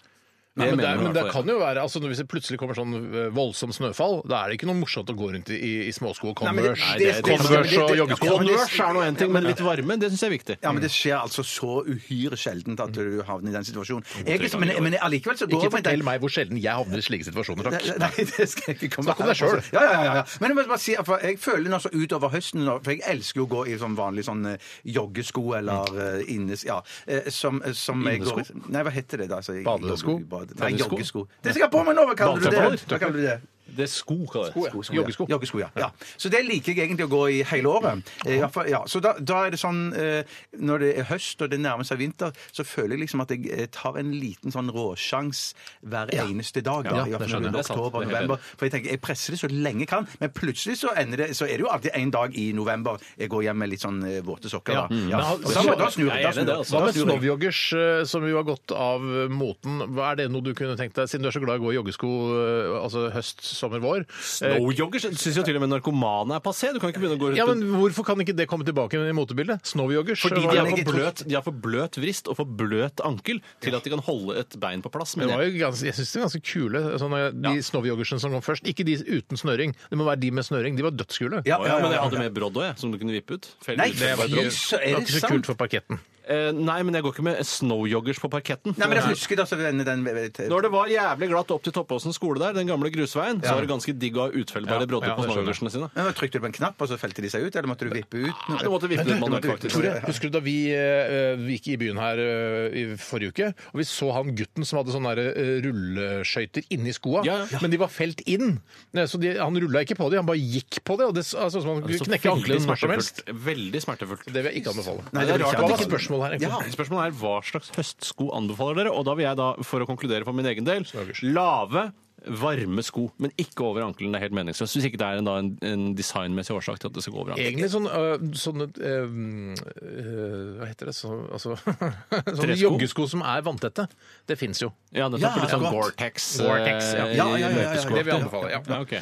Nei, men det, er- mener men i hvert det fall kan jo være, altså når- Hvis det plutselig kommer sånn eh, voldsom snøfall, da er det ikke noe morsomt å gå rundt i, i- i småsko og men det- Converse. det- det- Converse det- det- og det- joggesko. ja, men det- Converse er nå en ting, men litt varme, det syns jeg er viktig. Ja, men Det skjer altså så uhyre sjeldent at Mm. du havner i den situasjonen. Jeg, liksom- men, men allikevel så Ikke går jeg på en del- fortell meg hvor sjelden jeg havner i slike situasjoner, Nei, takk. nei, det skal jeg ikke komme Altså, Snakk om deg selv. Ja, ja, ja, ja. Men jeg må bare si, for jeg føler nå så utover høsten nå, For jeg elsker jo å gå i sånn vanlig sånn eh, joggesko eller Mm. eh, innes... Ja. eh, Som, eh, som jeg går i- Nei, hva heter det da? Altså, jeg- Badesko? jeg- bad- Nei, Badesko? joggesko. Det skal jeg ha på meg nå! Hva kaller du det? Badetøfler? Hva kaller du det? Det er sko, kaller jeg det. Sko, Joggesko. Ja. Joggesko, ja. ja. Så det liker jeg egentlig å gå i hele Mm. året. Eh, i hvert fall, ja. Så da, da er det sånn eh, Når det er høst og det nærmer seg vinter, så føler jeg liksom at jeg eh, tar en liten sånn råsjans hver eneste dag. Da, Ja, i det hvert fall skjønner jeg. Det når er det er sant. oktober, Det er helt november. For jeg tenker, jeg presser det så lenge jeg kan, men plutselig så ender det Så er det jo alltid en dag i november jeg går hjem med litt sånn eh, våte sokker. Ja. Da, Mm. ja. Men ha- Og da, må- da snur Jeg jeg. er enig i Da det, snur jeg. altså. Hva Da med snur jeg. snowyoggers, eh, som jo har gått av eh, moten? Hva Er det noe du kunne tenkt deg, siden du er så glad i å gå i joggesko eh, altså høst, sommer, vår? Eh, Snowjoggers syns jo til og med narkomane er passé. Du kan ikke begynne å gå rundt Ja, men Hvorfor kan ikke det komme tilbake i motebildet? eh, Snowyoggers? Fordi hva- de har, jeg for tror- bløt, de har for bløt vrist og for bløt ankel til at de kan holde et bein på plass. Det Men var jeg, jo ganske, jeg syns de er ganske kule, sånne, de Ja. snowyogersene som kom først. Ikke de uten snøring. Det må være de med snøring. De var dødskule. Ja, Å ja, men jeg hadde med brodd òg, som du kunne vippe ut. Felle Nei, ut. det var Det var Jøss, så er det ikke så sant? kult for parketten. Eh, nei, men jeg går ikke med snowjoggers på parketten. Nei, men jeg husker da så denne den, Når det var jævlig glatt opp til Toppåsen skole der, den gamle grusveien, så var det ganske digg å ha utfellbare Ja, brodder ja, på det skjønner jeg. snowjoggersene sine. Men Trykte du på en knapp, og så felte de seg ut? Eller måtte du vippe ut? Ja, du måtte vippe ut Du måtte manuelt, vippe ut. faktisk. Tore, husker du da vi, eh, vi gikk i byen her eh, i forrige uke, og vi så han gutten som hadde sånne der, eh, rulleskøyter inni skoa, Ja, ja. men de var felt inn. Ne, Så de, han rulla ikke på de, han bare gikk på det, og det s- altså, som han Så kunne knekke veldig ankelen når som helst. smertefullt. Veldig smertefullt. Det vil jeg ikke anbefale. Nei, det er Hva rart var at ikke- spørsmålet her? Ja. egentlig? Spørsmålet er hva slags høstsko anbefaler dere? Og da vil jeg da, for å konkludere for min egen del, Snøggers. lave varme sko, men ikke over ankelen. Det er helt meningsløst. Hvis ikke det er en, da, en, en designmessig årsak til at det skal gå over ankelen. Egentlig sånn, øh, sånne øh, øh, Hva heter det? Så, altså, sånne Tresko? joggesko som er vanntette. Det fins jo. Ja, det Ja, er litt ja, sånn godt. Gore-Tex. eh, Gore-Tex, ja. i Ja, ja, ja, ja, ja, løpesko. det vil jeg anbefale, ja. ok.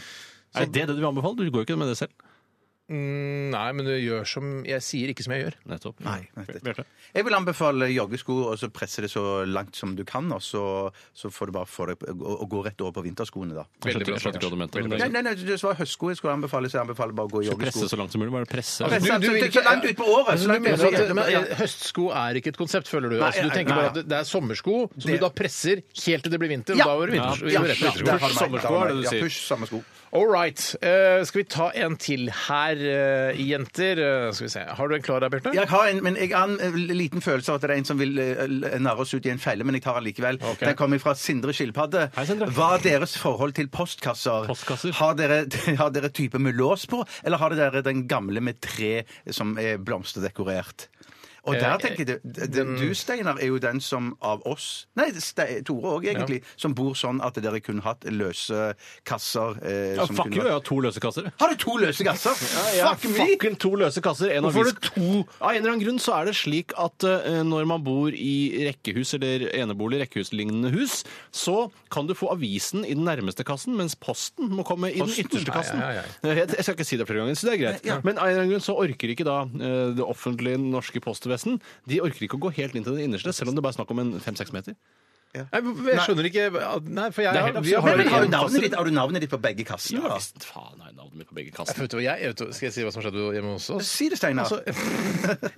Er det det du vil anbefale? Du går jo ikke med det selv. Mm, nei, men du gjør som Jeg sier ikke som jeg gjør. Nettopp. Bjarte? Jeg vil anbefale joggesko, og så presse det så langt som du kan, og så, så får du bare få det, å, å gå rett over på vinterskoene, da. Jeg skjønte, bra, jeg skjønte ikke hva du mente. men Nei, det er- nei, nei, det var høstsko jeg skulle anbefale, så jeg anbefaler bare å gå i Så Presse joggesko. så langt som mulig. Bare presse. Presse du- du vil så- ikke- så langt ut på året! Så Men du langt ut mener på at, men, året. eh, høstsko er ikke et konsept, føler du? Nei, altså, du nei, tenker nei, bare ja. at det- det er sommersko som Det- du da presser helt til det blir vinter, og Ja. da var det vinter. vi Ja, går rett på ja, vintersko. der har du meg, Sommersko, der har er det du du meg. sier. Ja, push samme sko. All right. Eh, skal vi ta en til her, eh, jenter? Eh, skal vi se. Har du en klar der, Bjarte? Jeg har en, men jeg har en eh, liten følelse av at det er en som vil eh, l- narre oss ut i en felle, men jeg tar den likevel. Ok. Den kommer fra Sindre Skilpadde. Hei, Sindre. Hva er deres forhold til postkasser? Postkasser? Har dere, har dere type med lås på, eller har dere den gamle med tre som er blomsterdekorert? Og der Eh, tenker jeg, det- det- Du, Steinar, er jo den som av oss Nei, Ste- Tore òg, egentlig. Som bor sånn at dere kunne hatt løse kasser. Eh, Ja, som fuck kunne you, vært- jeg har to løse kasser. Har du to løse kasser? Fuck me! Fucking to løse kasser. En Hvorfor avis- Av en eller annen grunn så er det slik at eh, når man bor i rekkehus eller enebolig, rekkehuslignende hus, så kan du få avisen i den nærmeste kassen, mens posten må komme i den ytterste kassen. Ai, ai, Jeg, jeg skal ikke si det flere ganger, så det er greit. Men av en eller annen grunn så orker ikke da eh, det offentlige norske postvesen De orker ikke å gå helt inn til den innerste, selv om det bare er snakk om en fem-seks meter. Nei, jeg skjønner ikke at- Nei, for jeg Det er helt har, vi har, absurd. Men, men, har, du en- navnet ditt, har du navnet ditt på begge kassene? da? visst, faen, har jeg navnet mitt på begge kassene. Vet du hva jeg, vet du, skal jeg si hva som skjedde hjemme hos oss? Si det, Steinar. Altså,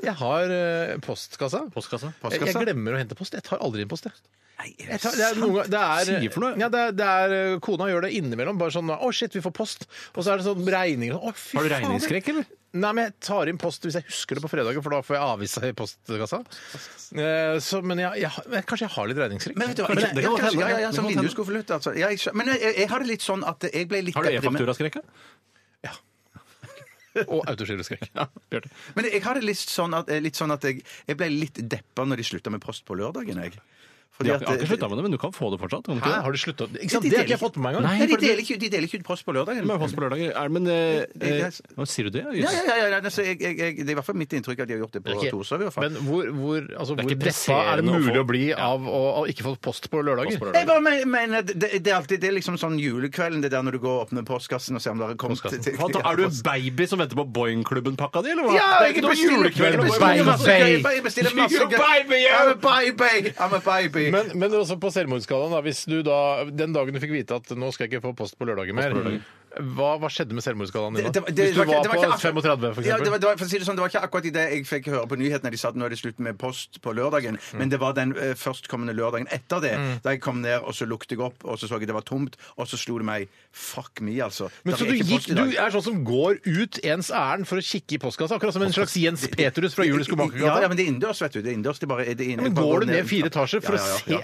jeg har eh, postkassa. Postkassa? Jeg, jeg glemmer å hente post. Jeg tar aldri inn post. jeg. Nei, er Jeg tar, det er noen, gang- det er, Sier for noe. Ja, det er, det er, kona gjør det innimellom. Bare sånn 'Å, shit, vi får post.' Og så er det sånn regninger. Å, fy Har du fader. regningsskrekk, eller? Nei, men jeg tar inn post hvis jeg husker det på fredagen, for da får jeg avisa i postkassa. Eh, Så, men jeg, jeg, har- kanskje jeg har litt regningsskrekk. Men vet du hva, Men jeg, det- jeg, kan godt kanskje- hende. ja, ja, ja, Det som kan godt hende. vinduskonvolutt, altså. Ja, jeg skjø- men jeg, jeg har det litt sånn at jeg ble litt Har du deprimert. e-fakturaskrekk? Og autogiroskrekk. Ja, Bjarte. Men jeg har det litt sånn at, eh, litt sånn at jeg, jeg ble litt deppa når de slutta med post på lørdagen, jeg. Fordi Jeg har jeg har eh, ikke slutta med det, men du kan få det fortsatt. Kan du ikke Hæ, det? har du slutta Ikke sant, De det har ikke jeg deler fått med meg engang. Nei, de deler ikke, de deler ikke ut post på lørdagen. Men post på lørdager er Men eh, Det- eh, det er- hva sier du det? Ja, ja, ja, ja, altså, jeg, jeg, jeg, det er i hvert fall mitt inntrykk at de har gjort det på Ikke- Torshov. i hvert fall. Men hvor, hvor, altså, hvor deppa Det er ikke er det presserende å mulig få- å bli av å, å ikke få post på lørdager? Post på Jeg lørdager. bare men- mener, det, det er alltid det er liksom sånn julekvelden, det der når du går og åpner postkassen og ser om det har kommet til, til Fant- Er du en baby som venter på Boing-klubben-pakka di, eller hva? Det er Ja, jeg ikke noe bestiller- julekveld med bestiller Boing. masse greier. Jeg bestiller masse You're a greier. baby, I'm yeah. a baby! I'm a baby! Men, men også på selvmordsskalaen, da, hvis du da den dagen du fikk vite at nå skal jeg ikke få post på lørdager mer, hva, hva skjedde med selvmordsskalaen din da? Hvis du ikke- var, det ikke på akkurat- 35, for Ja, det, var, eksempel? det, var, for å si det, sånn, det var ikke akkurat i det jeg fikk høre på nyhetene de sa at nå er det slutt med post på lørdagen, Mm. men det var den eh, førstkommende lørdagen etter det. Da jeg kom ned, og så lukte jeg opp, og så så jeg det var tomt, og så slo det meg Fuck me, altså. Men så Der er du, ikke gikk, post i du dag. er sånn som går ut ens ærend for å kikke i postkassa, akkurat som en slags Jens Petrus fra Julius ja, ja, Skomakergata? men det er innendørs, vet du. Det er innendørs. Det er bare, det er inne- Men bare går du ned fire etasjer for å se Er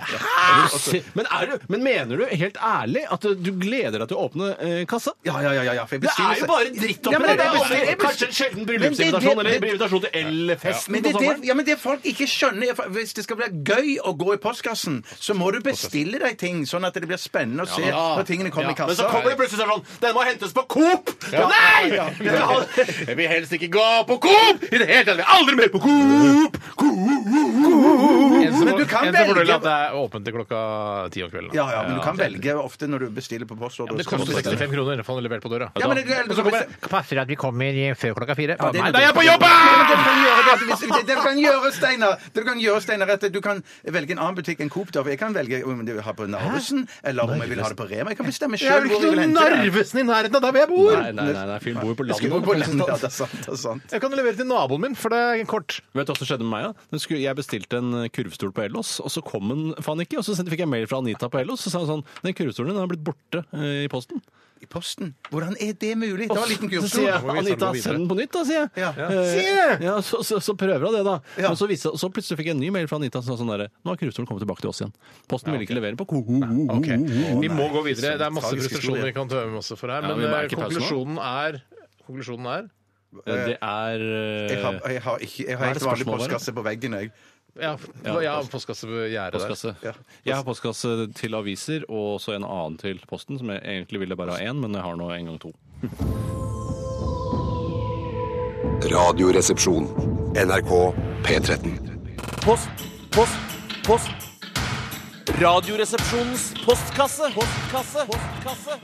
du se- Men, er du, men mener du helt ærlig at du gleder deg til å åpne eh, kassa? Ja, ja, ja. ja, ja for jeg Det bestiller er jo seg- bare dritt oppi Ja, men det! det er- det. jeg er bestiller- Kanskje en sjelden Men det- bryllupsinvitasjon eller det- invitasjon til L-festen Men det, på er det, sommeren. ja, men det folk ikke skjønner er for Hvis det skal bli gøy å gå i postkassen, så må du bestille deg ting, sånn at det blir spennende å se Ja. når tingene kommer Ja, i kassa. Men så kommer det plutselig sånn Den må hentes på Coop! Nei! Jeg vil ha det. Jeg vil helst ikke gå på Coop! I det hele tatt! Jeg vil aldri mer på Coop! En som Men du kan en som velge- forteller at det er åpent til klokka ti om kvelden. da. Ja, ja, men du kan velge ofte når du bestiller på postordre. Ja, Det så kan du koster bestille. 65 kroner å få den levert på døra. Ja, men det- det- Og så kommer det Passer at vi kommer før klokka fire. Ja, det- Nei, da er jeg på jobb! Ja, men det du kan gjøre, det, at hvis- det- det du kan gjøre, Steinar, det du kan gjøre, Steinar, er at du kan velge en annen butikk enn Coop. Da. for Jeg kan velge om jeg vil ha på Narvesen, eller om jeg vil ha det på Rema. Jeg kan bestemme Jeg sjøl vil hvor jeg ikke vil noe hente det. Narvesen i nærheten av der hvor jeg bor! Nei, nei, nei, nei, fyren bor jo på Skal landet. jo på landet, ja, det er sant, altså. det er sant. Jeg kan levere til naboen min, for det er kort. Vet du hva som skjedde med meg? da? Den skulle, jeg bestilte en eh, kurvstol på Ellos, og så kom den faen ikke. Og så sendte, fikk jeg mail fra Anita på Ellos, og sa hun sånn Den kurvstolen din har blitt borte eh, i posten. I posten? Hvordan er det mulig? Det var en liten Så sier jeg, Må kurvstol. vi Anita, gå videre? send den på nytt, da, sier jeg. Ja. Eh, ja, så, så, så prøver hun det, da. Ja. Men så, viste, så plutselig fikk jeg en ny mail fra Anita som sa sånn derre Nå har kurvstolen kommet tilbake til oss igjen. Posten ville ikke levere på Coop. Ok, mm. Vi må gå videre. Det er masse Tragisk frustrasjoner historie. vi kan tømme oss for her, Ja, men vi må eh, ikke pause nå. konklusjonen er Konklusjonen er Eh, Det er eh, Jeg har, jeg har, ikke, jeg Hva har er det helt vanlig spørsmålet? postkasse på veggen, jeg. Ja, ja postkassegjerde der. Postkasse. Ja. Jeg har postkasse til aviser og så en annen til Posten, som jeg egentlig ville bare ha én, men jeg har nå en gang to. Radioresepsjon. NRK P13. Post, post, post. Radioresepsjonens postkasse. Postkasse. postkasse.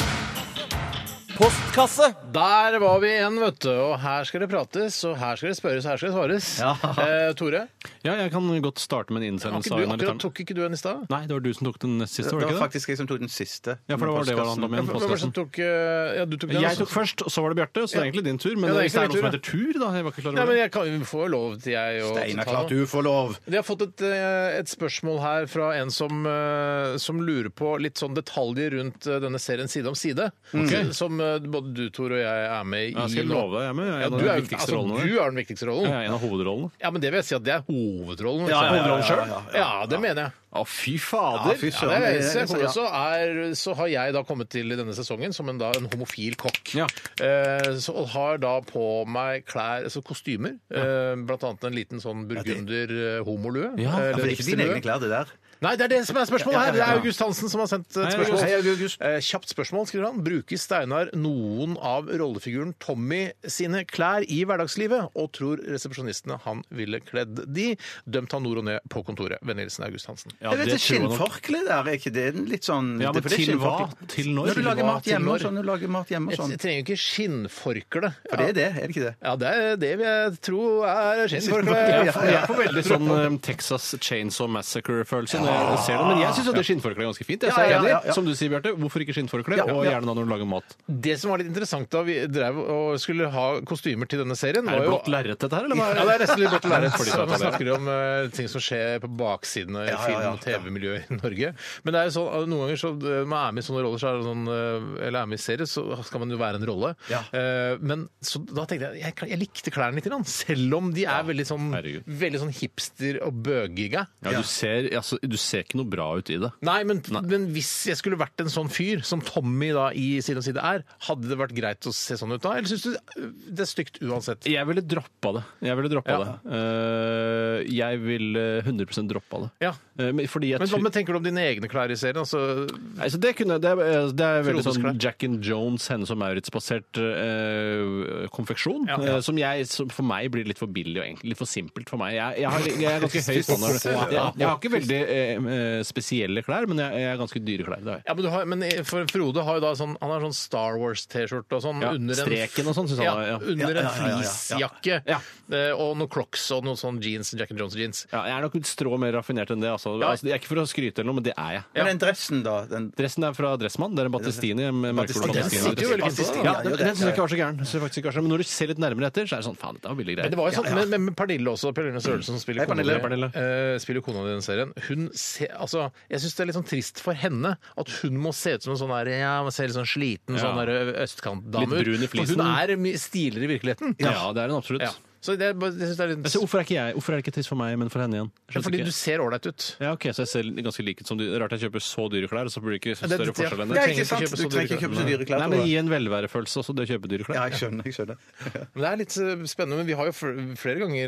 postkasse. Der var vi igjen, vet du. Og her skal det prates, og her skal det spørres, og her skal det svares. Eh, Tore, Ja, jeg kan godt starte med en har innsendelse. ikke av du, en av lytterne. akkurat tok ikke du en i stad? Nei, det var du som tok den nest siste, Det var det var ikke det? faktisk jeg som tok den siste. Ja, for det var det det handla om Hvem igjen. var det som postkassen. tok eh, Ja, du tok den. Jeg altså. tok først, og så var det Bjarte, så det er egentlig din tur. Ja, Men det er hvis det er egentlig noe som min heter tur, da? Jeg var ikke klar Nei, over men det. jeg kan jo få lov til jeg å Steinar, ta klart noe. du får lov. Vi har fått et, eh, et spørsmål her fra en som, eh, som lurer på litt sånn detaljer rundt eh, denne serien Side om side. Som, som eh, både du, Tor, og jeg er med i. Jeg skal nå. love deg, jeg er med. Jeg Ja, er en du, av de er, jo- viktigste altså, rollene. du er den viktigste rollen. Jeg er en av hovedrollene. Ja, men det vil jeg si at det er hovedrollen. Ja, ja, ja, ja, ja, ja, ja, det mener jeg. Å, fy fader! fy Ja, det er, så, jeg søren. Ja. håper så, er, så har jeg da kommet til i denne sesongen som en, da, en homofil kokk. Ja. Eh, så, og har da på meg klær, altså kostymer, eh, blant annet en liten sånn burgunder eh, homolue. Ja, for det er For det er ikke dine egne klær, det der. Nei, det er det som er spørsmålet her! Det ja. er August Hansen som har sendt et Hei, spørsmål. August. Hei, August. Eh, Kjapt spørsmål, skriver han. Bruker Steinar noen av rollefiguren Tommy sine klær i hverdagslivet, og tror resepsjonistene han ville kledd de? Dømt han nord og ned på kontoret. Vennlig hilsen August Hansen. Ja, Jeg vet det tror jeg nok. skinnforkle der, er ikke det den litt sånn Ja, det- men for det er til hva? skinnforkle. Til når? Når du lager Hva mat til hjemme og når? sånn. Når du lager mat hjemme og Jeg, sånn. jeg trenger jo ikke skinnforkle. For det er det, er det ikke det? Ja, det er det vil jeg tro er skinnforkle. Jeg får- jeg får veldig sånn eh, Texas Chainsaw Massacre-følelse når jeg ser det. Men jeg syns det skinnforkleet er ganske fint. Jeg så Ja, er ja, ja, enig. Som du sier, Bjarte, hvorfor ikke skinnforkle? Og gjerne da når du lager mat. Det som var litt interessant da vi drev og skulle ha kostymer til denne serien, Er var det jo blått lerret, dette her, eller? hva Ja, er det er nesten litt blått lerret. Så Fordi det Man er blått snakker om eh, ting som skjer på baksiden av film- og TV-miljøet i Norge. Men det er jo sånn, eh, noen ganger så eh, man er med i sånne roller, så er det sånn, eh, eller er med i serier, så skal man jo være en rolle. Eh, Men så da tenkte jeg, jeg jeg likte klærne litt, grann, selv om de er veldig sånn, herregud. veldig sånn hipster og bøgiga. Ja, du ser, altså, du ser ikke noe bra ut i det. Nei, men, men hvis jeg skulle vært en sånn fyr som Tommy da i Side om side er, hadde det vært greit å se sånn ut da? Eller syns du eh, det er stygt uansett? Jeg ville droppa det. Jeg ville droppa Ja. det. Eh, jeg ville 100 droppa det. Ja. Eh, men fordi jeg Men hva tror- med tenker du om dine egne klær i serien? Altså, Nei, så det, kunne, det, er, det er veldig Frodes sånn klær. Jack and Jones, Hennes og Maurits-basert eh, konfeksjon. Ja, ja. eh, som, jeg, som for meg blir litt for billig og egentlig litt for simpelt for meg. Jeg, jeg, har, jeg er ganske høy standard. Jeg, jeg har ikke veldig eh, eh, spesielle klær, men jeg, jeg er ganske dyre klær. Det har jeg. Ja, men, du har, men i- for Frode har jo da sånn Han har sånn Star Wars-T-skjorte og sånn. Ja, under en- streken og sånn, synes han Ja, var- ja. Under en fleecejakke. Ja. Eh, Og noen Crocs og noen sånn jeans. Jack and Jones-jeans. Ja, jeg er nok et strå mer raffinert enn det. Altså. Ja. Altså, det er ikke for å skryte eller noe, men det er jeg. Men den dressen, da? Den Dressen er fra Dressmann. Det er en Battistini. med merkekort Den Battistini. Battistini. sitter jo veldig fint på deg, da. Ja, den, den synes jeg ikke var så gæren. synes jeg faktisk ikke var så- Men når du ser litt nærmere etter, så er det sånn faen, dette var billig Men greier. det var jo sånn, men, men, men Pernille også, Pernille Sørelsen som spiller Hei, kona, Pernille. di, eh, spiller kona di i den serien, hun ser, altså, jeg syns det er litt sånn trist for henne at hun må se ut som en sånn der, ja, man ser litt sånn sliten Ja. sånn der østkantdame Litt brun i ut. For flisen. hun er mye stiligere i virkeligheten. Ja, det er den absolutt. Ja. Så det, er bare- jeg synes det er litt Altså, hvorfor, er ikke jeg, hvorfor er det ikke trist for meg, men for henne igjen? Jeg skjønte Fordi ikke. du ser ålreit ut. Ja, ok, så jeg ser ganske lik ut som du. Rart jeg kjøper så dyre klær, og så blir det ikke så Ja, det- ja. større forskjell enn Ja, det. ikke sant? Du trenger ikke kjøpe så dyre klær. Nei, men Tore. gi en velværefølelse også, det å kjøpe dyre Ja, klær. jeg skjønner. jeg skjønner. Men det er litt eh, spennende, men vi har jo fl- flere ganger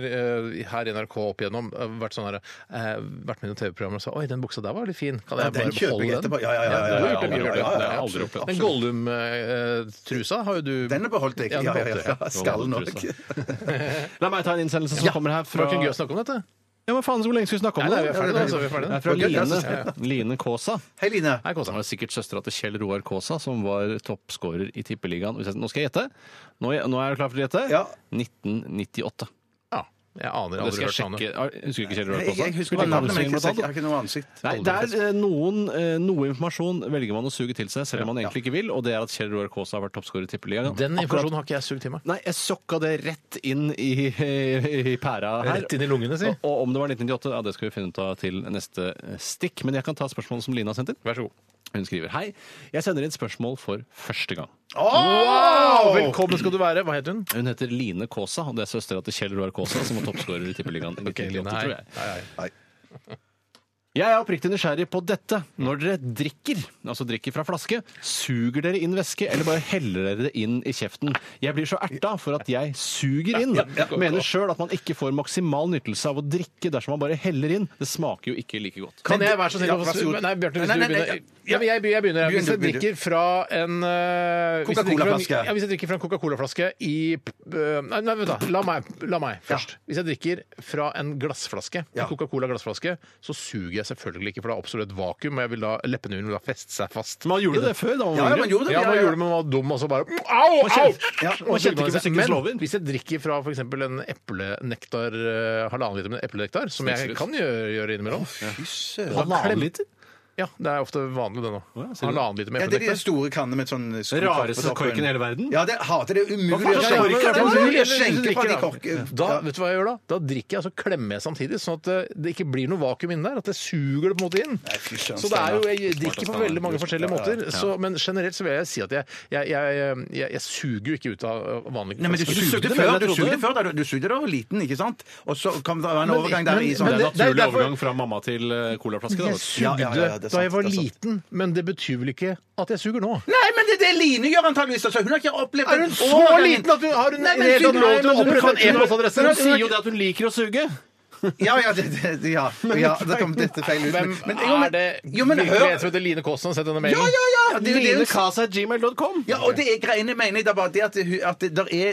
eh, her i NRK opp igjennom eh, vært sånn her, eh, vært med i noen TV-programmer og sa 'oi, den buksa der var litt fin', kan jeg bare den kjøper jeg beholde den? etterpå. Ja, ja, ja, ja, du har gjort det, ja, du har ja, ja, gjort det. ja, aldri opplevd. Men Gollum-trusa har jo du Den har beholdt jeg. Ja, Ja, den ja, beholdt ja, jeg. ja. Skallen òg. La meg ta en innsendelse som kommer her Det fra var ikke gøy å snakke om dette. Ja, men faen, så hvor lenge skal vi snakke om Nei, nei, vi det? er ferdig nå. Så er vi Det ferdig er fra nå. Line, Line Kaasa. Hei, Line. Hei, Han Kåsa. var sikkert søstera til Kjell Roar Kaasa, som var toppskårer i Tippeligaen. Hvis jeg- Nå skal jeg gjette. Nå, er- nå er jeg klar for å gjette. Ja. 1998. Ja, jeg aner Det aldri skal jeg hørt navnet. sjekke. Jeg husker ikke Kjell Roar Jeg, Kaasa. jeg husker Husker bare du navnet, men Hansen, jeg blant har ikke- annet? jeg har ikke noe ansikt. Nei, det er eh, noen, eh, noe informasjon velger man å suge til seg, selv om man egentlig ikke vil, og det er at Kjell Roar Kaasa har vært toppskårer i Tippeligaen. Den Akkurat- informasjonen har ikke jeg sugd til meg. Nei, jeg sokka det rett inn i, i pæra her. Rett inn i lungene, si. Og, og om det var 1998, ja, det skal vi finne ut av til neste stikk. Men jeg kan ta spørsmålet som Lina har sendt inn. Vær så god. Hun skriver Hei, jeg sender inn spørsmål for første gang. Wow! Velkommen skal du være. Hva het hun? Hun heter Line Kaasa, og det er søstera til Kjell Roar Kaasa, som var toppskårer i Tippeligaen i 1998, Line, hei. tror jeg. Jeg er oppriktig nysgjerrig på dette. Når dere drikker, altså drikker fra flaske, suger dere inn væske, eller bare heller dere det inn i kjeften? Jeg blir så erta for at jeg suger inn. Mener sjøl at man ikke får maksimal nyttelse av å drikke dersom man bare heller inn. Det smaker jo ikke like godt. Kan jeg være så snill Ja, å få vær så su- god. Nei, Bjarte, hvis Nei, du nei, nei, begynner. ja. Ja, men jeg, jeg begynner. jeg. Begynn, Hvis jeg du, begynn, du. drikker fra en øh, hvis jeg drikker fra en- Coca-Cola-flaske. Ja, hvis jeg drikker fra en Coca-Cola-flaske i øh, Nei, nei, vent da. La meg, la meg først. Hvis jeg drikker fra en glassflaske, en Ja. Coca-Cola-glassflaske, så suger jeg vil jeg selvfølgelig ikke, for det er absolutt et vakuum. Og jeg vil da, leppene mine vil da feste seg fast. Man gjorde det før, da. man Ja, ja, var man yngre. gjorde det, Ja, ja, man ja. gjorde det, men man var dum, og så bare mm, Au! Au! Og ja, man så kjente ikke gikk det seg. musikkens lover. Men hvis jeg drikker fra f.eks. en eplenektar, eh, halvannen liter med eplenektar, som jeg Absolutt. kan gjøre, gjøre innimellom Fysse. Halvannen liter? Ja, det er ofte vanlig, det nå. ser du. Halvannen liter med Ja, det er de eplenektar. store kannene med sånn skrukork på Rareste toppen. korken i hele verden? Ja, det hater det. Umulig å faen, det skjenke- er det er umulig å Eller skjenke drikker, fra de da. korkene. Da, vet du hva jeg gjør da? Da drikker jeg, og så klemmer jeg samtidig, sånn at eh, det ikke blir noe vakuum inni der. At jeg suger det på en måte inn. fy søren, Så det er jo, jeg Smart av drikker på Steinar. veldig mange forskjellige Ja, ja. måter. Så, men generelt så vil jeg si at jeg, jeg, jeg, jeg, jeg suger jo ikke ut av eh, vanlig Nei, men du flaske. sugde det før, mer, du trodde sugde du? før da du- du sugde da du var liten, ikke sant? Og så kom det en Men- overgang der i men- Det er en sånn det- det er naturlig derfor- overgang fra mamma til eh, colaflaske. Jeg da, vet du. Ja, sugde ja, ja, ja, det er da sant, jeg var det er sant. liten, men det betyr vel ikke at jeg suger nå? Nei, men det er det Line gjør antageligvis. Altså, hun har ikke opplevd Er hun den så overgangen. liten at hun har en Nei, men helt hun- annen lov til å nei, men hun opprette kan- en e-postadresse? Hun Hun sier sier jo det at hun liker å suge. Ja, ja, det, det, ja, ja, da kom dette feil ut. Hvem Men- men- jo, men- er det jo, men virkelig hør- jeg tror det er Line Kåss som har sendt denne Ja, mailen? ja, ja! Det, er jo det, hun- Linekasa.gmail.com. ja, og det er greiene mener jeg da bare det at det, hu- at det der er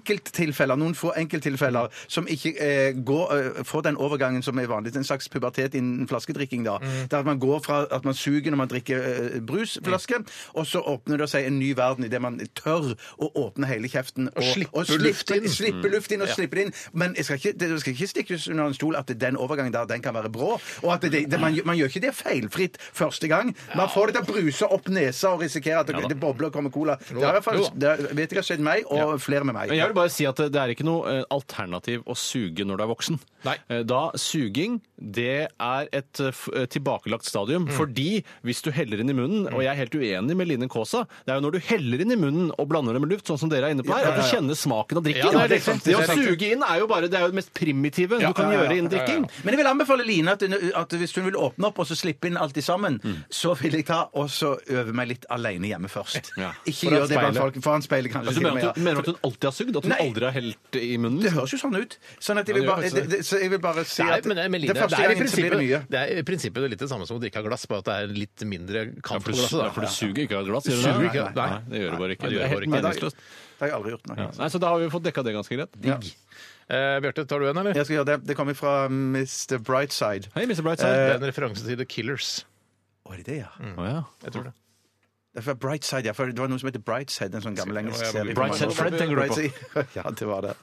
enkelttilfeller, noen få enkelttilfeller, som ikke eh, går, eh, får den overgangen som er vanlig. En slags pubertet innen flaskedrikking, da. Der man går fra at man suger når man drikker eh, brusflaske, og så åpner det seg en ny verden idet man tør å åpne hele kjeften. Og, slipper slippe- luft inn. Mm. Slippe luft inn og slippe det inn. Men jeg skal ikke, det, det skal ikke stikke under en stol at den overgangen der, den kan være brå. Og at det, det, man, man gjør ikke det feilfritt første gang. Man får det til å bruse opp nesa og risikere at det, det bobler og kommer cola. Det har i hvert fall, Jo det har- vet jeg har skjedd meg, og flere med meg. Men jeg vil bare si at det er ikke noe eh, alternativ å suge når du er voksen. Nei. Eh, Da suging, det er et eh, f- eh, tilbakelagt Mm. stadium. Fordi hvis du heller inn i munnen, og jeg er helt uenig med Line Kaasa, det er jo når du heller inn i munnen og blander det med luft, sånn som dere er inne på her, at du kjenner smaken av drikken. Ja, det er riktig. det å Det er riktig. suge inn er jo bare det er jo det mest primitive Ja, du kan ja, ja, gjøre innen ja, ja. drikking. Men jeg vil anbefale Line at, hun- at hvis hun vil åpne opp og så slippe inn alt i sammen, Mm. så vil jeg ta og så øve meg litt alene hjemme først. Ja. Ikke Foran gjør det blant speilet. folk. Foran speilet, kanskje. Altså, til du og med, mener ja. at du, mener at hun alltid har sugd? At hun Nei. aldri har helt i Det munnen? høres jo sånn ut. Sånn at jeg vil Ja, det altså. gjør bare, faktisk det, det. det, så jeg vil bare si Det at er, men jeg, mener, det det er første i gangen så blir det mye. prinsippet- det er i prinsippet litt det samme som å drikke av glass, bare at det er litt mindre kant på For du, glasset. da. for du suger ikke av et glass? Du gjør du suger det? ikke, nei. Nei, det gjør du bare Nei, ikke. det Det er gjør helt du bare meningsløst. Det har jeg aldri gjort. Nei. Nei, så da har vi fått dekka det ganske greit. Ja. Eh, Bjarte, tar du en, eller? Jeg skal gjøre det. Det kommer fra Mr. Brightside. Hei, Mr. Det Brightside. er en referanse til The Killers. Å, er det det, ja? Å, ja. Jeg tror det. Det er fra Brightside, ja. For det var noe som heter Brightside, en sånn gammel engelsk Ja, ja, serie. for Brightside mange år Fred siden. tenker du på? Brightside- Ja, det var det.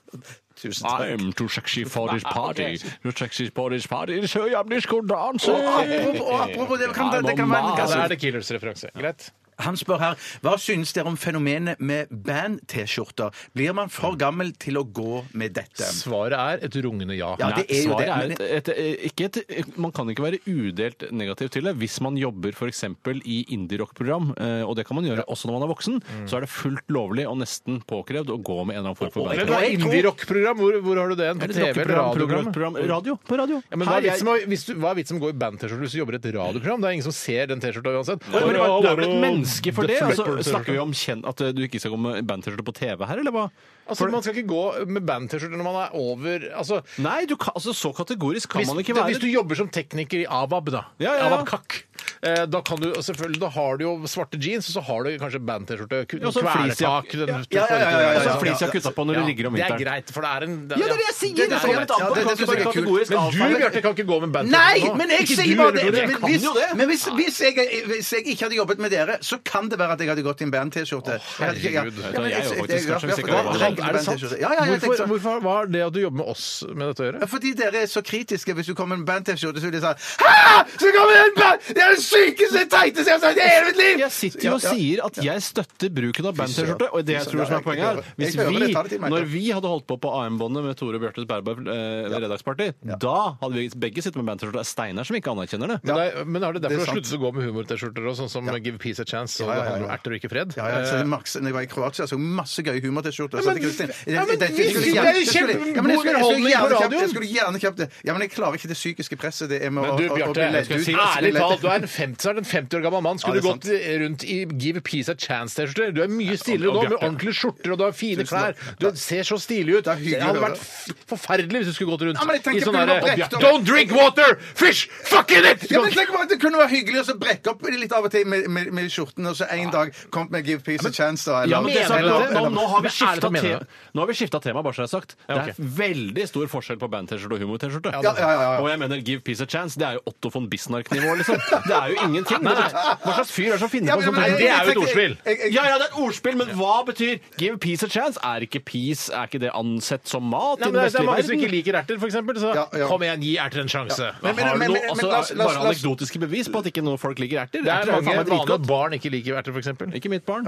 Tusen takk. I'm too sexy for this party. Too sexy for this party. Så jeg blir skulle danse. Og apropos, og apropos det, kan, det kan være en Ja, det gass- er The Killers-referanse. Greit. Han spør her hva synes dere om fenomenet med band-T-skjorter. Blir man for gammel til å gå med dette? Svaret er et rungende ja. Ja, det er jo Svaret det. er men- et, et, ikke et, Man kan ikke være udelt negativ til det. Hvis man jobber f.eks. i indie-rock-program, eh, og det kan man gjøre også når man er voksen, Mm. så er det fullt lovlig og nesten påkrevd å gå med en eller annen form for Men band. hva er indie-rock-program? Hvor, hvor har du det? hen? På TV eller radioprogram? Radio. På radio. Ja, men hva er vitsen med å- hvis du- hva er vitsen med å gå i band-T-skjorte hvis du jobber i et radioprogram? Det er ingen som ser den T-skjorta uansett. Det er Ja, vel et bare- menneske for det? Def Altså, Leppard-T-skjorte. snakker vi om kjenn- at eh, du ikke skal gå med band-T-skjorte på TV her, eller hva? Altså, Man skal ikke gå med band-T-skjorte når man er over altså, Nei, du kan, altså, så kategorisk kan hvis, man ikke det- være. hvis du jobber som tekniker i ABAB, da, Ja, ja, ja. ABAB Kakk, eh, da, kan du, og selvfølgelig, da har du jo svarte jeans, og så har du kanskje band-T-skjorte, Ja, så en kvelertak fleecejakke. den- Ja, ja, ja, ja, ja, ja. Og så flis jeg har kutta på når det ligger om Det er vinteren. greit, for det er en Ja, det er det jeg sier! Det er Det greit. er Ja, det- sånn det, det synes jeg er kult. Men du, Bjarte, kan ikke gå med band-T-skjorte Nei, nå. men jeg Ikke sier du bare heller, det. Tore. Men kan hvis, jo det. men hvis, hvis, jeg, hvis jeg ikke hadde jobbet med dere, så kan det være at jeg hadde gått i en band-T-skjorte. Jeg hadde ikke- ja. herregud. Ja, Jeg men er jo jeg- faktisk jeg- kanskje ja, sikker på for da- det. da- Er det sant? Ja, ja, jeg tenkte Hvorfor, hvorfor sånn. var det at du jobber med oss med dette å Ja, gjøre? Fordi dere er så kritiske. Hvis du kommer med en band-T-skjorte, så vil de si Hæ! Så kommer det en band! Det er det sykeste, teiteste jeg har sagt i hele mitt liv! Jeg sitter jo og Ja, ja. sier at jeg støtter bruken av band-T-skjorte, og det jeg tror som er poenget er Hvis vi, når vi hadde holdt på på AM-båndet med Tore Bjørtes Berberg eh, ved Reddagsparty, da hadde vi begge sittet med band-T-skjorte. Det er Steinar som ikke anerkjenner det. Men, det er, men er det Det derfor du er har sant. sluttet å gå med humor-T-skjorter og sånn som Give Peace a Chance og Ja, ja, ja, det handler om ja. erter og ikke fred? Ja, ja, så det er maks- når jeg var i Kroatia, så jeg masse gøye humor-T-skjorter. og Ja, så men- til Kristin. ja, men Dette vi- skulle vi- gjerne- det er jeg skulle- kjempegod ja, men jeg skulle- jeg skulle underholdning på gjerne kjøpt- radioen. Jeg skulle gjerne kjøpt det. Ja, men jeg klarer ikke det psykiske presset. Det er med Men å- du, å- å bli Bjarte, ledd jeg skal ut, si- å bli ærlig ledd talt, ut. du er er en 50, så er det en 50 år gammel mann. Skulle Ja, det du er gått rundt i Give Peace a Chance-T-skjorter? Du er mye stiligere og nå, med Bjarte. ordentlige skjorter, og du har fine klær. Du ser så stilig ut. Det er hyggelig hadde å høre. vært f- forferdelig hvis du skulle gått rundt Ja, men jeg tenker i sånn på derre Bjarte. Don't drink water! Fish! Fuck in it! Ja, men tenk bare at Det kunne være hyggelig å så brekke opp litt av og til med, med, med skjorten, og så en dag kom med Give Peace a Chance. Da, eller- Ja, men det er sant, Mener nå, du det? nå, nå har vi Men ærlig skifta talt, mener du tema, det? Nå har vi skiftet tema, bare så jeg har sagt. Det Ja, er ok. veldig stor forskjell på band-T-skjorte og humor-T-skjorte. ja, ja, ja, ja. Og jeg mener Give Peace a Chance. Det er jo Otto von Bismarck-nivå, liksom. Det er jo ingenting. Det er- Hva slags fyr er det som finner Ja, på men- sånt? men- Nei, Det er jo et jeg- jeg- ordspill. jeg- jeg- Ja, ja, det er et ordspill, men hva betyr Give Peace a Chance? Er ikke peace er ikke det ansett som mat i Nei, men det, er, det den vestlige er mange som ikke verden? liker erter, for eksempel. Så Ja, ja. kom igjen, gi erter en sjanse. Men- men- Har du men- noe, men- altså, men la oss- la oss- bare la oss- anekdotiske bevis på at ikke noen folk liker erter? Det er Erter jo mange faen meg vanlige dritgodt. barn ikke liker erter, for eksempel. Ikke mitt barn.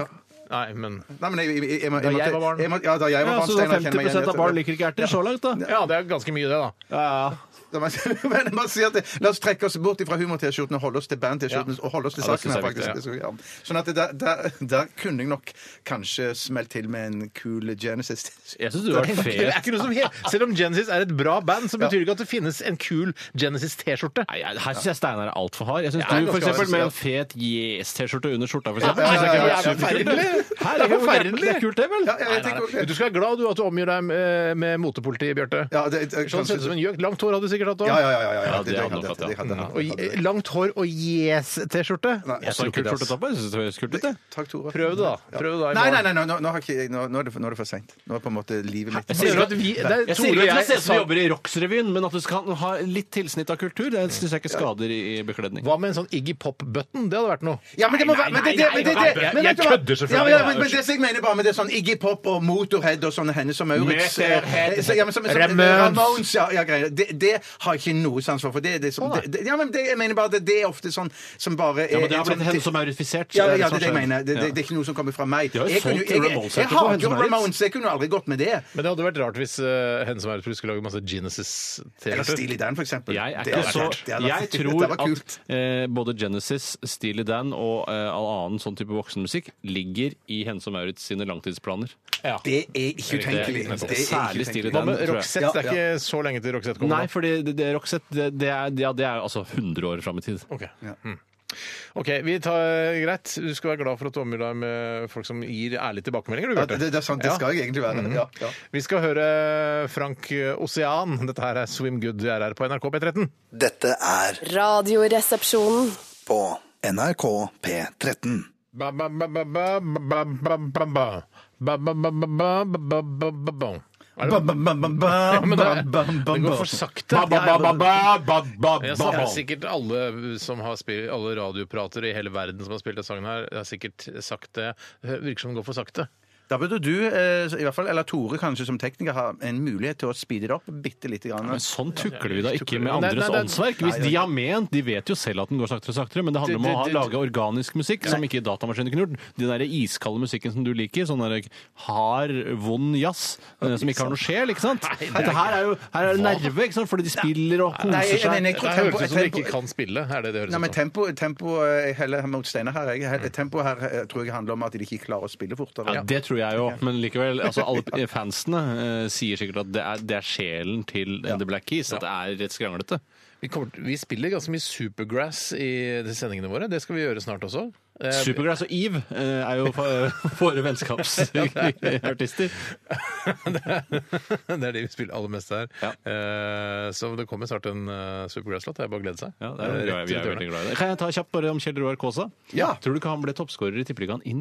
Nei, men Nei, men jeg, jeg, jeg, jeg, må- Da jeg jeg var barn. måtte- jeg må- Ja, da jeg var Ja, barn. så Steinar, kjenner meg 50 igjen i av dette. barn liker ikke erter så langt, da. Ja, det er ganske mye, det, da. Ja, ja. Da må jeg- Men jeg bare sier at det- La oss trekke oss bort fra humor-T-skjorten og holde oss til band-T-skjorten. Og holde oss til Ja, det saken synes her, jeg faktisk. er viktig, Det skal vi gjøre. Sånn at det- der, der, der kunne jeg nok kanskje smelt til med en cool Genesis. Jeg syns du var fet. Det er ikke noe som he- Selv om Genesis er et bra band, så betyr det ikke at det finnes en kul Genesis-T-skjorte. Nei, jeg- her syns jeg Steinar er altfor hard. Jeg syns du jeg er for ganske eksempel, hard, med ja. en fet Yes-T-skjorte under skjorta, for eksempel. Ja, ja, synes jeg ja, ikke det ja, er ja, superkult, forferdelig. det. Her er jo Forferdelig. Det er kult, det, vel? Ja, jeg, jeg tenker også Du skal være glad du at du omgir deg med, med motepoliti, Bjarte. Ja, det- det- sånn ser kanskje- ut som en gjøk. Langt hår hadde du sikkert hatt òg. Ja, ja, ja. ja, ja, Ja, det jeg hadde nok hatt, ja. jeg hadde nok Og hatt det. je- langt hår og yes-T-skjorte. Nei, Også en absolutt kult ikke, ass. skjortetoppe. Jeg synes det høres kult ut, det. Takk, Tore. Prøv det, da. Prøv det da i Nei, nei, morgen. nei, nå, nå, nå, har ikke, jeg- nå, nå, er det for- nå er det for seint. Nå er på en måte livet mitt Jeg sier jo at vi, det er Jeg sier Tore og jeg ikke at du ser ut som du sa- jobber i Rocksrevyen, men at du skal ha litt tilsnitt av kultur, det syns jeg ikke skader i i bekledning. Hva med en sånn Iggy Pop-button? Det hadde vært noe. Ja, men det må Nei, være men det, nei, det, nei, men det, nei, det, jeg- men vet jeg du hva? kødder selvfølgelig. Ja, men, ja, men, men det som jeg mener bare med det er sånn Iggy Pop og Motorhead og sånne Hennes og Maurits eh, Motorhead. så- ja, men som- som- Ramones. Ramones. Ja, ja, greier. Det, det har jeg ikke noe sans for. for det, er det, som, Å, nei. det, det, ja, men det, jeg mener bare at det er ofte sånn som bare Ja, men det har en blitt sånn- henne som er sånn aurifisert. ja, eh, ja, det er det jeg mener. Det, det, det er ikke noe som kommer fra meg. De har jo Jeg kunne solgt jeg- jeg- Ramones Jeg etterpå, har Hennes jo og Maurits. Ramones, jeg kunne aldri gått med det. Men det hadde vært rart hvis uh, Henne som er et skulle lage masse Eller Genesis-T-skjorter. Steely Dan, for eksempel. Jeg er Det ikke hadde så vært- det hadde Jeg vært- tror det hadde vært kult. at eh, både Genesis, Steely Dan og eh, all annen sånn type voksenmusikk ligger i Hennes og Maurits sine langtidsplaner. Ja. Det er ikke utenkelig. Det er ikke Det er ikke særlig Steely utenkelig. Hva med Den tror jeg. Roxette? Ja, Det er ikke så lenge til Roxette kommer. Nei, nå. fordi det, det Roxette, det, det, er, ja, det er jo altså 100 år fram i tid. Ok. Mm. OK, vi tar greit. Du skal være glad for at du omgir deg med folk som gir ærlige tilbakemeldinger. Du, Ja, Bjarte. det, det er sant. Det Ja. Mm. skal jeg egentlig være. Ja, ja. Vi skal høre Frank Osean. Dette her er Swim Good RR på NRK P13. Dette er Radioresepsjonen. på NRK P13. Ba, ba, ba, ba, ba, ba, ba, ba, ba. Ba, ba, ba, ba, ba, ba, ba, ba, ba. Er det- Ja, men det, det går for sakte. Jeg snakker sikkert alle som har spilt, alle radiopratere i hele verden som har spilt den sangen her, har sikkert sagt det. Det Virker som det går for sakte. Da burde du, eh, i hvert fall, eller Tore kanskje som tekniker, ha en mulighet til å speede det opp bitte lite grann. Men sånn tukler vi da ikke med Nei, nei, andres nei, åndsverk. Hvis de har ment De vet jo selv at den går saktere og saktere, men det handler om å ha, Det- det- det- lage organisk musikk som ikke datamaskiner kunne gjort. Den der iskalde musikken som du liker, sånn der hard, vond jazz eh, som ikke har noe sjel, ikke sant? Dette her er jo her er det nerve, ikke sant? Fordi de spiller og koser Nei, jeg seg. mener, Det jeg tror høres tempo- ut som de tempo- ikke kan spille. Er det det høres Nei, men ut som? tempo, tempo eh, heller her mot Steinar her, jeg, he- tempo her eh, tror jeg handler om at de ikke klarer å spille fortere. Ja, det tror jeg jo, men likevel. Altså, alle fansene eh, sier sikkert at det er, det er sjelen til The Black Keys. At det er rett skranglete. Vi, kommer, til- vi spiller ganske mye Supergrass i de sendingene våre. Det skal vi gjøre snart også. Eh, Supergrass og Eve eh, er jo fa- våre vennskapsartister. det er de vi spiller aller mest her. Eh, Så det kommer snart en eh, Supergrass-låt. Det er bare å glede seg. Ja, det er, Eh, vi rett er, vi til er dørene. veldig glad i det. Kan jeg ta kjapt bare om Kjell Roar Kaasa? Ja. Tror du ikke han ble toppskårer i Tippeligaen i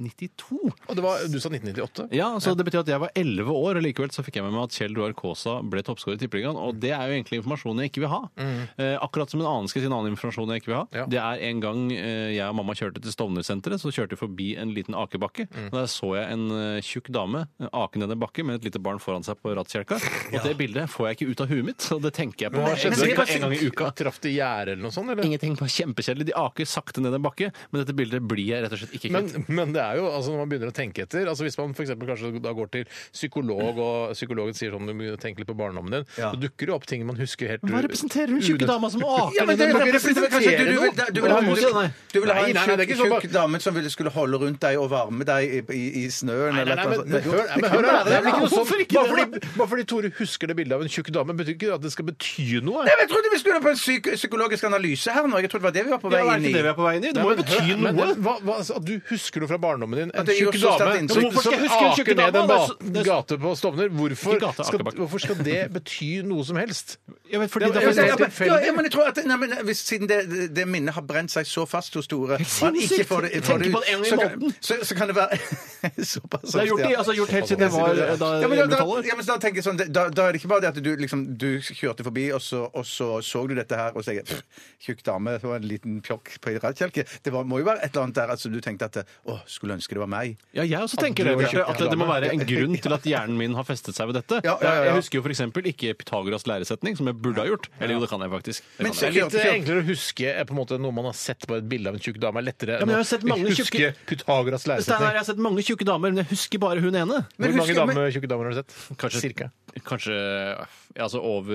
1992? Og det var, du sa 1998? Ja, så Det betyr at jeg var 11 år, og likevel så fikk jeg med meg at Kjell Roar Kaasa ble toppskårer i Tippeligaen. Og det er jo egentlig informasjon jeg ikke vil ha. Eh, akkurat som en annen skal si en annen informasjon jeg ikke vil ha. Mm. Ja. Det er en gang eh, jeg og mamma kjørte til Stovner-senteret, så kjørte vi forbi en liten akebakke. Mm. Og Der så jeg en eh, tjukk dame eh, ake ned en bakke med et lite barn foran seg på rattkjelka. Og det bildet får jeg ikke ut av huet mitt, og det tenker jeg på Hva skjedde? skjedde det en gang i uka. Traff de gjerdet eller noe sånt? Eller? Ingenting på kjempekjedelig. De aker sakte ned en bakke, men dette bildet blir jeg rett og slett ikke Men, kvitt. men det er jo, altså når man begynner å tenke etter altså Hvis man for eksempel kanskje da går til psykolog, og psykologen sier sånn du må tenke litt på barndommen din, så dukker det opp ting man husker helt Hva representerer hun tjukke unødvendig. dama som aker Ja, men ned det en bakke? representerer kanskje du, du, vil- du, vil- Nei, du, må vil- ikke det, nei. du vil ha Nei, en nei, nei, det ikke tjukk sånn bare- dame som ville skulle holde rundt deg og varme deg i, i, i snøen. Nei, nei, eller nei, et eller men, annet men sånt. hør, nei, men hør her, det er vel ikke noe sånt. Hvorfor ikke Bare det, da? fordi, bare fordi Tore husker det bildet av en tjukk dame, betyr ikke at det skal bety noe. Nei, men Jeg trodde vi skulle på en psyk psykologisk analyse her nå. Jeg trodde det var det vi var på vei Ja, er inn ikke i. det vi er på vei inn i? Det må jo bety Men noe. hva, hva, altså, at du husker noe fra barndommen din? At En det gjør tjukk så sterkt dame inntrykk. som Hvorfor skal som jeg huske en aker tjukk ned dame? en Det ba er så- det er så- gate på Stovner. Hvorfor, Ikke gate, skal, akebakke. hvorfor skal det bety noe som helst? Ja, men fordi Ja, det men- er Ja, ja, helt men, ja, tilfeldig. ja, men jeg tror at nei, men, eh, hvis, Siden det, det- det minnet har brent seg så fast hos Tore og han ikke får det, får det Tenker på det en gang i så, kan, måneden. så, så kan det være såpass Det er gjort, i- altså, gjort helt siden jeg var eh, da ja, men da, da, hjemmetallet. ja, men da, tenker jeg sånn, da, da er det ikke bare det at du, liksom, du kjørte forbi, og så, og så så du dette her, og så tenker jeg «Pff, Tjukk dame, det var en liten pjokk på en rattkjelke. Det var, må jo være et eller annet der altså, du tenkte at Å, skulle ønske det var meg. Ja, jeg også At tenker du det, var Bjarte, tjukk at det må dame. være en grunn til at hjernen min har festet seg ved dette. Ja, ja, ja, ja. Jeg husker jo f.eks. ikke Pythagoras læresetning, som jeg burde ha gjort. Eller jo, det kan jeg faktisk. Det Men kan Det jeg. er litt Kjøp- kjøp. enklere å huske eh, på en måte, noe man har sett på et bilde av en tjukk dame. er lettere Ja, men jeg har sett mange huske tjukke- Pythagoras Steinar, jeg læresetning. har sett mange tjukke damer, men jeg husker bare hun ene. Men Hvor mange husker- men- damer, tjukke damer har du sett? Kanskje, Cirka. Kanskje ja, altså over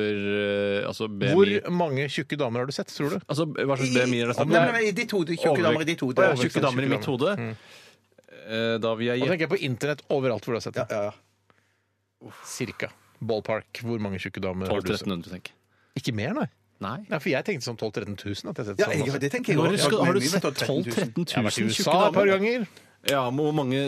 eh, altså BMI Hvor mange tjukke damer har du sett, tror du? Altså, Hva slags BMI er det snakk om? Nei, nei, nei, i ditt hode. Tjukke Overvekt. damer i ditt hode. Å, ja, Tjukke damer Mm. i mitt Tjukke hode. Eh, Da vil jeg Nå gjette tenker jeg på internett overalt hvor du har sett det. Ja, ja. Cirka. Ballpark. Hvor mange tjukke damer har du sett? 12-1300, tenker jeg. Ikke mer, nei. Nei. Nei, for jeg tenkte sånn 12 000-13 000. At jeg har sett Ja, sånn jeg, også. det tenker jeg Når også. skal, har du Mye med sett 12 000-13 000 Jeg har vært i tjukke USA et par damer? ganger. Ja, men Hvor mange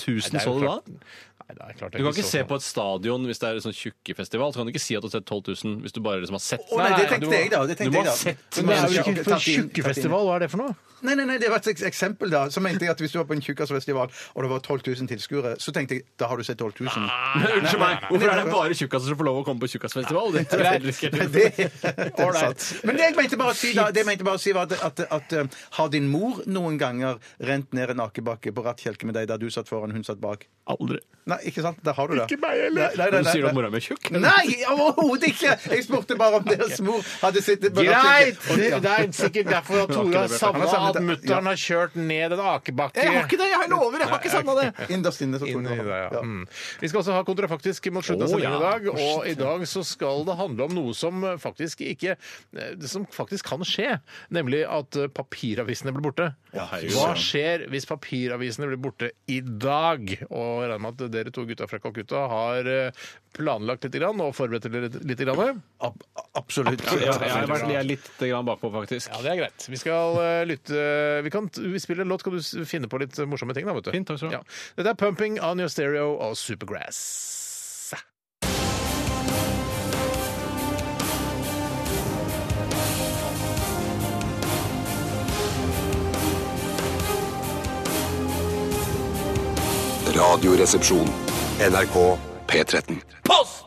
tusen Nei, det er så jo du da? klart- Nei, det er klart Du kan ikke se på et stadion hvis det er en sånn tjukkefestival. Så kan du ikke si at du har sett 12 000 hvis du bare liksom har sett Å, nei, det Nei, du tenkte må- jeg, da. Det du tenkte må jeg da. ha sett- Du må Men det ha er jo sett- ikke tatt for inn- tatt inn. tjukkefestival, hva er det for noe? Nei, nei, nei, det var et eks- eksempel, da. Så mente jeg at hvis du var på en tjukkasfestival og det var 12 000 tilskuere, så tenkte jeg da har du sett 12 000. Ah, Unnskyld meg, hvorfor er det bare tjukkaser som får lov å komme på tjukkasfestival? Det er helt risikert. Det, det er sant. Men det jeg mente bare å si, da, det jeg mente bare å si var at, at, at um, har din mor noen ganger rent ned en akebakke på rattkjelke med deg der du satt foran, hun satt bak? Aldri. Nei, ikke sant? Der har du det. Ikke meg heller. Nei, nei, Men nei, sier du at nei. mora mi er tjukk? Nei, overhodet ikke! Jeg spurte bare om deres mor hadde sittet på Greit! rattkjelken. Og- Det, ja. det er sikkert derfor at Tore har Han savna har savnet at det. mutter'n Ja. har kjørt ned en akebakke. Jeg har ikke det! Jeg lover! Jeg har ikke savna det! Innerst inne, så tror Inn i jeg. det det, var. ja. Mm. Vi skal også ha kontrafaktisk mot slutten av Å, sendingen i ja. dag. Og i dag så skal det handle om noe som faktisk ikke det Som faktisk kan skje. Nemlig at eh, papiravisene blir borte. Hva skjer hvis papiravisene blir borte i dag? Og jeg regner med at dere to gutta fra Calcutta har eh, planlagt litt grann, og forberedt dere litt- litt. Grann. Ab absolutt. Ja, jeg, har vært, jeg er litt grann bakpå, faktisk. Ja, det er greit. Vi skal eh, lytte Vi kan t- vi spiller en låt, skal du s- finne på litt eh, morsomme ting, da, vet du. Fint, takk skal du ha. Ja. Dette er 'Pumping on Your Stereo' og 'Supergrass'. Radioresepsjon. NRK P13. Post!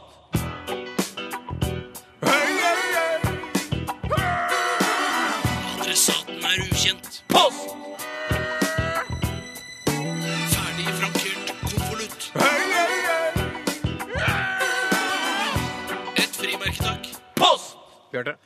Adressaten er ukjent. Post! Ferdig frankert konvolutt. Et frimerke, takk. Post!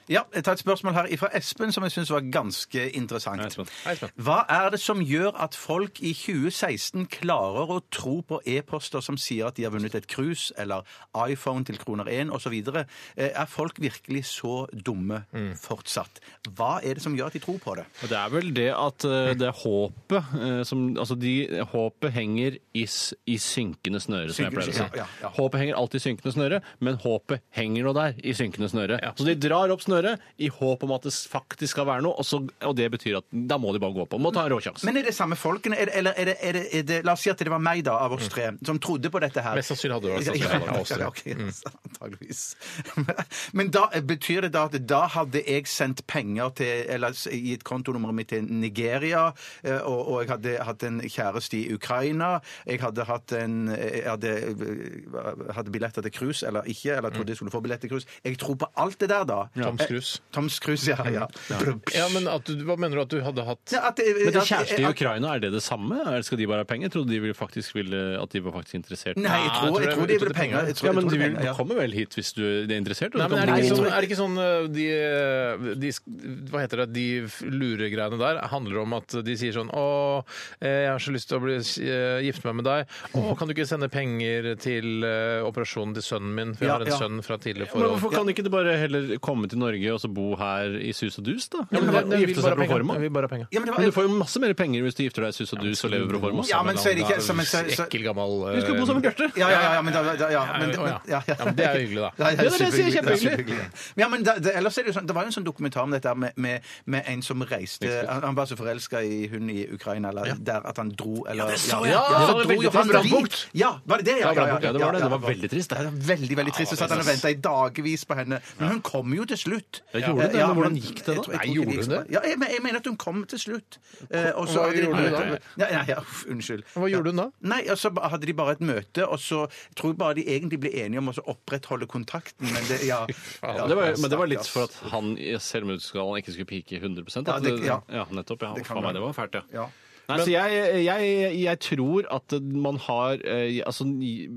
Ja, jeg tar et spørsmål her fra Espen som jeg syns var ganske interessant. Espen. Hva er det som gjør at folk i 2016 klarer å tro på e-poster som sier at de har vunnet et cruise eller iPhone til kroner 1 osv.? Eh, Er folk virkelig så dumme fortsatt? Hva er det som gjør at de tror på det? Og Det er vel det at Mm. eh, det er håpet eh, som Altså, de, håpet henger i, s- i synkende snøre, som jeg Synkende- pleier å si. ja, ja, ja. Håpet henger alltid i synkende snøre, men håpet henger nå der, i synkende snøre. Så de drar opp snøret i håp om at det faktisk skal være noe, og, så, og det betyr at da må de bare gå på. Må ta en råsjanse. Men er det samme folkene, er det, eller er det, er det, er det La oss si at det var meg, da, av oss tre, som trodde på dette her. Mest sannsynlig hadde det vært Ja, sånn som det var av oss ja, tre. ja, ok, Antageligvis. Men da eh, betyr det da at da hadde jeg sendt penger til Eller gitt kontonummeret mitt til Nigeria, eh, og, og jeg hadde hatt en kjæreste i Ukraina, jeg hadde hatt en eh, Jeg hadde, eh, hadde billetter til cruise, eller ikke, eller trodde jeg skulle få billett til cruise. Jeg tror på alt det der, da. Toms cruise. Eh, Toms cruise, ja. ja. Ja, men at du, Hva mener du at du hadde hatt Ja, at det- Men til at- eh, kjæreste i at- Ukraina, er det det samme? Eller skal de bare ha penger? Trodde de ville faktisk ville, at de var faktisk interessert? Nei, jeg tror, jeg tror de vil penger. Jeg tror, Ja, jeg men tror de det er vil, penger, ja. kommer vel hit hvis du er interessert? og Nei, du men kan er det bli ikke liksom- god. sånn, er det ikke sånn eh, de, eh, de, sk- Hva heter det? De f- luregreiene der handler om at de sier sånn Å, eh, jeg har så lyst til å bli, eh, gifte meg med deg. Å, Mm. kan du ikke sende penger til eh, operasjonen til sønnen min? For jeg Ja, har en ja. sønn fra tidligere Men forhold. hvorfor kan ikke det bare heller komme til Norge og så bo her i sus og dus, da? Ja, men Eller det- det- vi gifte vil bare ha seg pro penger. forma? Vi vil bare ha penger. Ja, men det var- Men du får jo masse mer penger hvis du gifter deg i sus og dus og lever pro forma. Ja, men så er det ikke så, men, så, så, Ekkel gammel eh, Du skal bo sammen med Bjarte! ja, ja, ja, ja, men da, da, ja, men, Ja, men, ja. Ja, men det er jo hyggelig, da. Ja, Ja, det er det jeg sier, superhyggelig. kjempehyggelig. Det er superhyggelig. Men Ja, men da, det, ellers er det, jo sånn, det var jo en sånn dokumentar om dette her med, med, med en som reiste Han han var så forelska i hun i Ukraina, eller der at han dro eller, så jeg. Ja, det så var dro veldig jo han trist. dit. Ja, var det det? Ja, Brandbukt, ja, det var det. Det var veldig trist, det. Ja, var veldig, veldig trist. Så satt han og venta i dagevis på henne. Men hun kom jo til slutt. Ja, gjorde det? Men hvordan men- gikk det da? Jeg tror- jeg Nei, tror ikke gjorde gikk hun så bra. det? Ja, jeg, men- jeg mener at hun kom til slutt. Eh, og så Hva hadde de et gjorde møte. hun da? Ja, ja, ja, uff, unnskyld. Hva gjorde hun da? Nei, og så hadde de bare et møte, og så tror jeg bare de egentlig ble enige om å så opprettholde kontakten, men det Ja. Ja, det var, men det var litt for at han i selvmordsskalaen ikke skulle pike 100 at Ja, det- ja. nettopp. Ja, Det kan faen meg, være. det var fælt, ja. Ja. Nei, så jeg, jeg, jeg tror at man har eh, altså,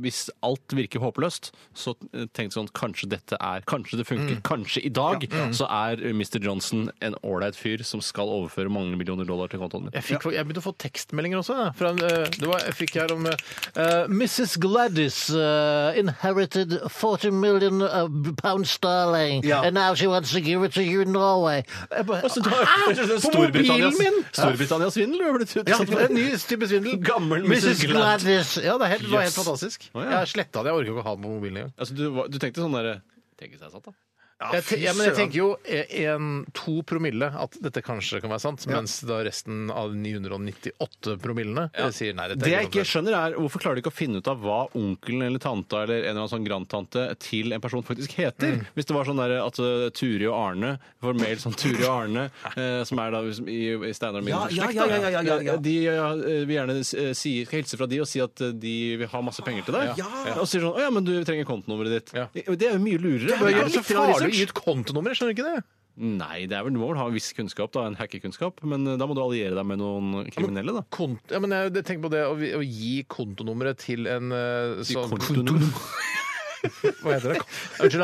Hvis alt virker håpløst, så tenk sånn Kanskje dette er Kanskje det funker. Mm. Kanskje i dag så er Mr. Johnson en ålreit fyr som skal overføre mange millioner dollar til kontoen min. Jeg, fikk, jeg begynte å få tekstmeldinger også. jeg, Fra, en, eh, det var, jeg fikk her om eh, Mrs. Gladys eh, inherited 40 million uh, pound sterling, Ja. and now she wants to give it to you in Norway. Jeg bare, Altså, da- Hæ? ah, På mobilen Storbritannias, min! Storbritannias svindel har blitt Ja, utsatt det for. er en ny type svindel. Gammel Mrs. Mrs. Glad. Gladys. Ja, det er helt, det var helt Yes. fantastisk. Å, ja. Jeg sletta det. Jeg orker ikke å ha den på mobilen engang. Altså, du, var- du tenkte sånn derre Tenke seg satt, da. Jeg, te- ja, men jeg tenker jo eh, en, to promille at dette kanskje kan være sant, mens da resten av 998 promillene eh, sier nei. dette Det jeg ikke ikke sant. skjønner er Hvorfor klarer de ikke å finne ut av hva onkelen eller tanta eller en eller annen sånn grandtante til en person faktisk heter? Mm. Hvis det var sånn der at uh, Turi og Arne får mail som Turi og Arne, eh, som er da liksom i, i Steinar og min Ja, ja, slekt, ja, da. ja, ja, ja, ja. De eh, vil gjerne eh, si, skal hilse fra de og si at eh, de vil ha masse penger til deg. Og sier sånn Å ja, men du trenger kontonummeret ditt. Ja. Det er jo mye lurere. Det Ja, er så litt grann farlig å gi ut research. kontonummer, jeg skjønner ikke det. Nei, det er vel, du må vel ha en viss kunnskap, da, en hackekunnskap, men eh, da må du alliere deg med noen kriminelle, da. Kont ja, men jeg tenker på det å, å gi kontonummeret til en eh, sånn kontonummer. Hva heter det? Unnskyld,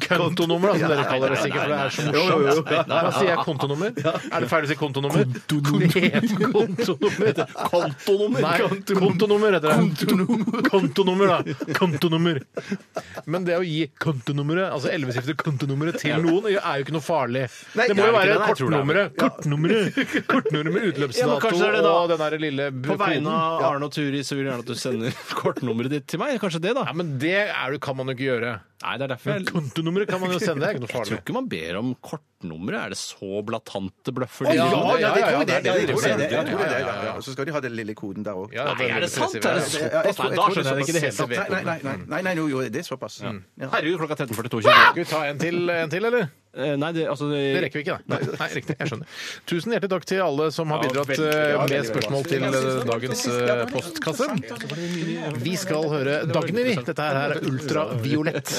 da. kontonummer, da, som dere kaller det sikkert, for det er så morsomt. Hva sier jeg kontonummer? Er det feil å si kontonummer? Det heter kontonummer. Kontonummer! Nei, kontonummer heter det. Kontonummer, da. Kontonummer. Men det å gi kontonummeret, altså ellevesifret kontonummeret til noen, er jo ikke noe farlig. Det må det jo er ikke være det, nei, jeg tror det er kortnummeret. Kortnummeret kortnummeret med Ja, men utløpsdato kanskje det er det da. og den der lille På vegne koden. av Arne og Turi så vil jeg gjerne at du sender kortnummeret ditt til meg. Kanskje det, da? Ja, men det er, kan man jo ikke gjøre. Nei, det er derfor jeg Kontonummeret kan man jo sende, det er ikke noe jeg tror farlig. ikke man ber om kortnummeret. Er det så blatante bløffer? de Ja, ja, driver med? det er ja, jeg tror det det. de Jeg tror det. selger. Jeg tror det, ja, ja. Og så skal de ha den lille koden der òg. Ja, det Nei, er det sant? veldig Er aggressivt, ja. det såpass? Nei, da skjønner jeg det ikke i det hele tatt. Nei, nei, nei, nei, nei, jo, jo, det er såpass. Ja. Herregud, klokka 13.42. kjører Skal vi ta en til, en til, eller? vi. Eh, Nei, det, altså Det rekker vi ikke, da. Nei, nei, riktig. Jeg skjønner. Tusen hjertelig takk til alle som har bidratt eh, med spørsmål til eh, dagens eh, postkasse. Vi skal høre Dagny, vi. Dette her er ultraviolett.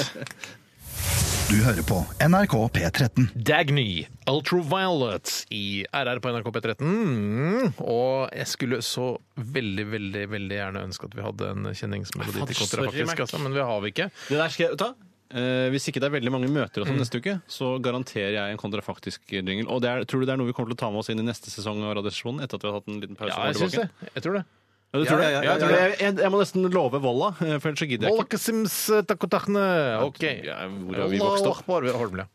Du hører på NRK P13. Dagny, Ultraviolet i RR på NRK P13. Mm. Og jeg skulle så veldig, veldig veldig gjerne ønske at vi hadde en kjenningsmelodi til kontra, Sorry, Mac. faktisk, altså, men vi har vi ikke. Det der skal jeg ta. Eh, hvis ikke det er veldig mange møter og sånn neste uke, så garanterer jeg en kontrafaktisk jingle. Og det er, tror du det er noe vi kommer til å ta med oss inn i neste sesong av Radiosjonen? Etter at vi har hatt en liten pause? Ja, og jeg kommer syns det. tilbake? Jeg tror det. Ja, du tror Ja, det? ja, ja, Jeg tror ja, det. Jeg, jeg må nesten love Volla, eh, for ellers så gidder jeg ikke. Molkesims eh, takotachne. OK. Ja, hvor har vi vokst opp? Allahu Akbar, Holmlia.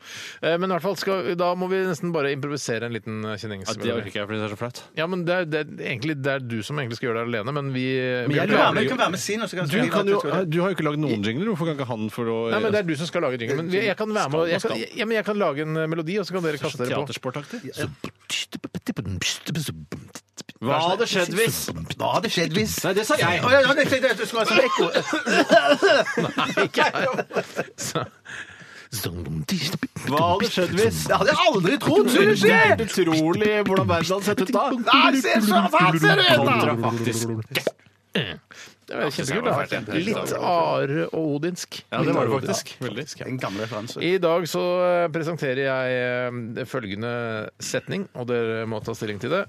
Eh, Men i hvert fall skal, da må vi nesten bare improvisere en liten Ja, det orker kjenningsmelodi. ikke jeg, fordi det er så flaut. Ja, men det er, det, er egentlig, det er du som egentlig skal gjøre det alene, men vi jeg Bjarte- Du kan være med- du kan være med sin, og så kan Du, kan jo, du har jo ikke lagd noen jingler, hvorfor kan ikke han få lov Nei, men Det er du som skal lage jingle. Men jeg kan være med og- jeg kan, ja, men jeg kan lage en eh, melodi, og så kan dere kaste dere på. Teatersportaktig? Hva Hva hadde skjedd hvis? Hva hadde skjedd hvis Nei, det sa jeg! Å, ja, ja, det, det, det, du skulle ha sånn ekko. Hva hadde skjedd hvis? Det hadde jeg aldri trodd skulle Det skje! er helt utrolig hvordan verden hadde sett ut da! Nei, se så faen ser det ut, da! Kontrafaktisk. Det var kjempekult. da. Litt are og odinsk. Ja, det var det faktisk. Veldig. En gammel referanse. I dag så eh, presenterer jeg eh, følgende setning, og dere må ta stilling til det.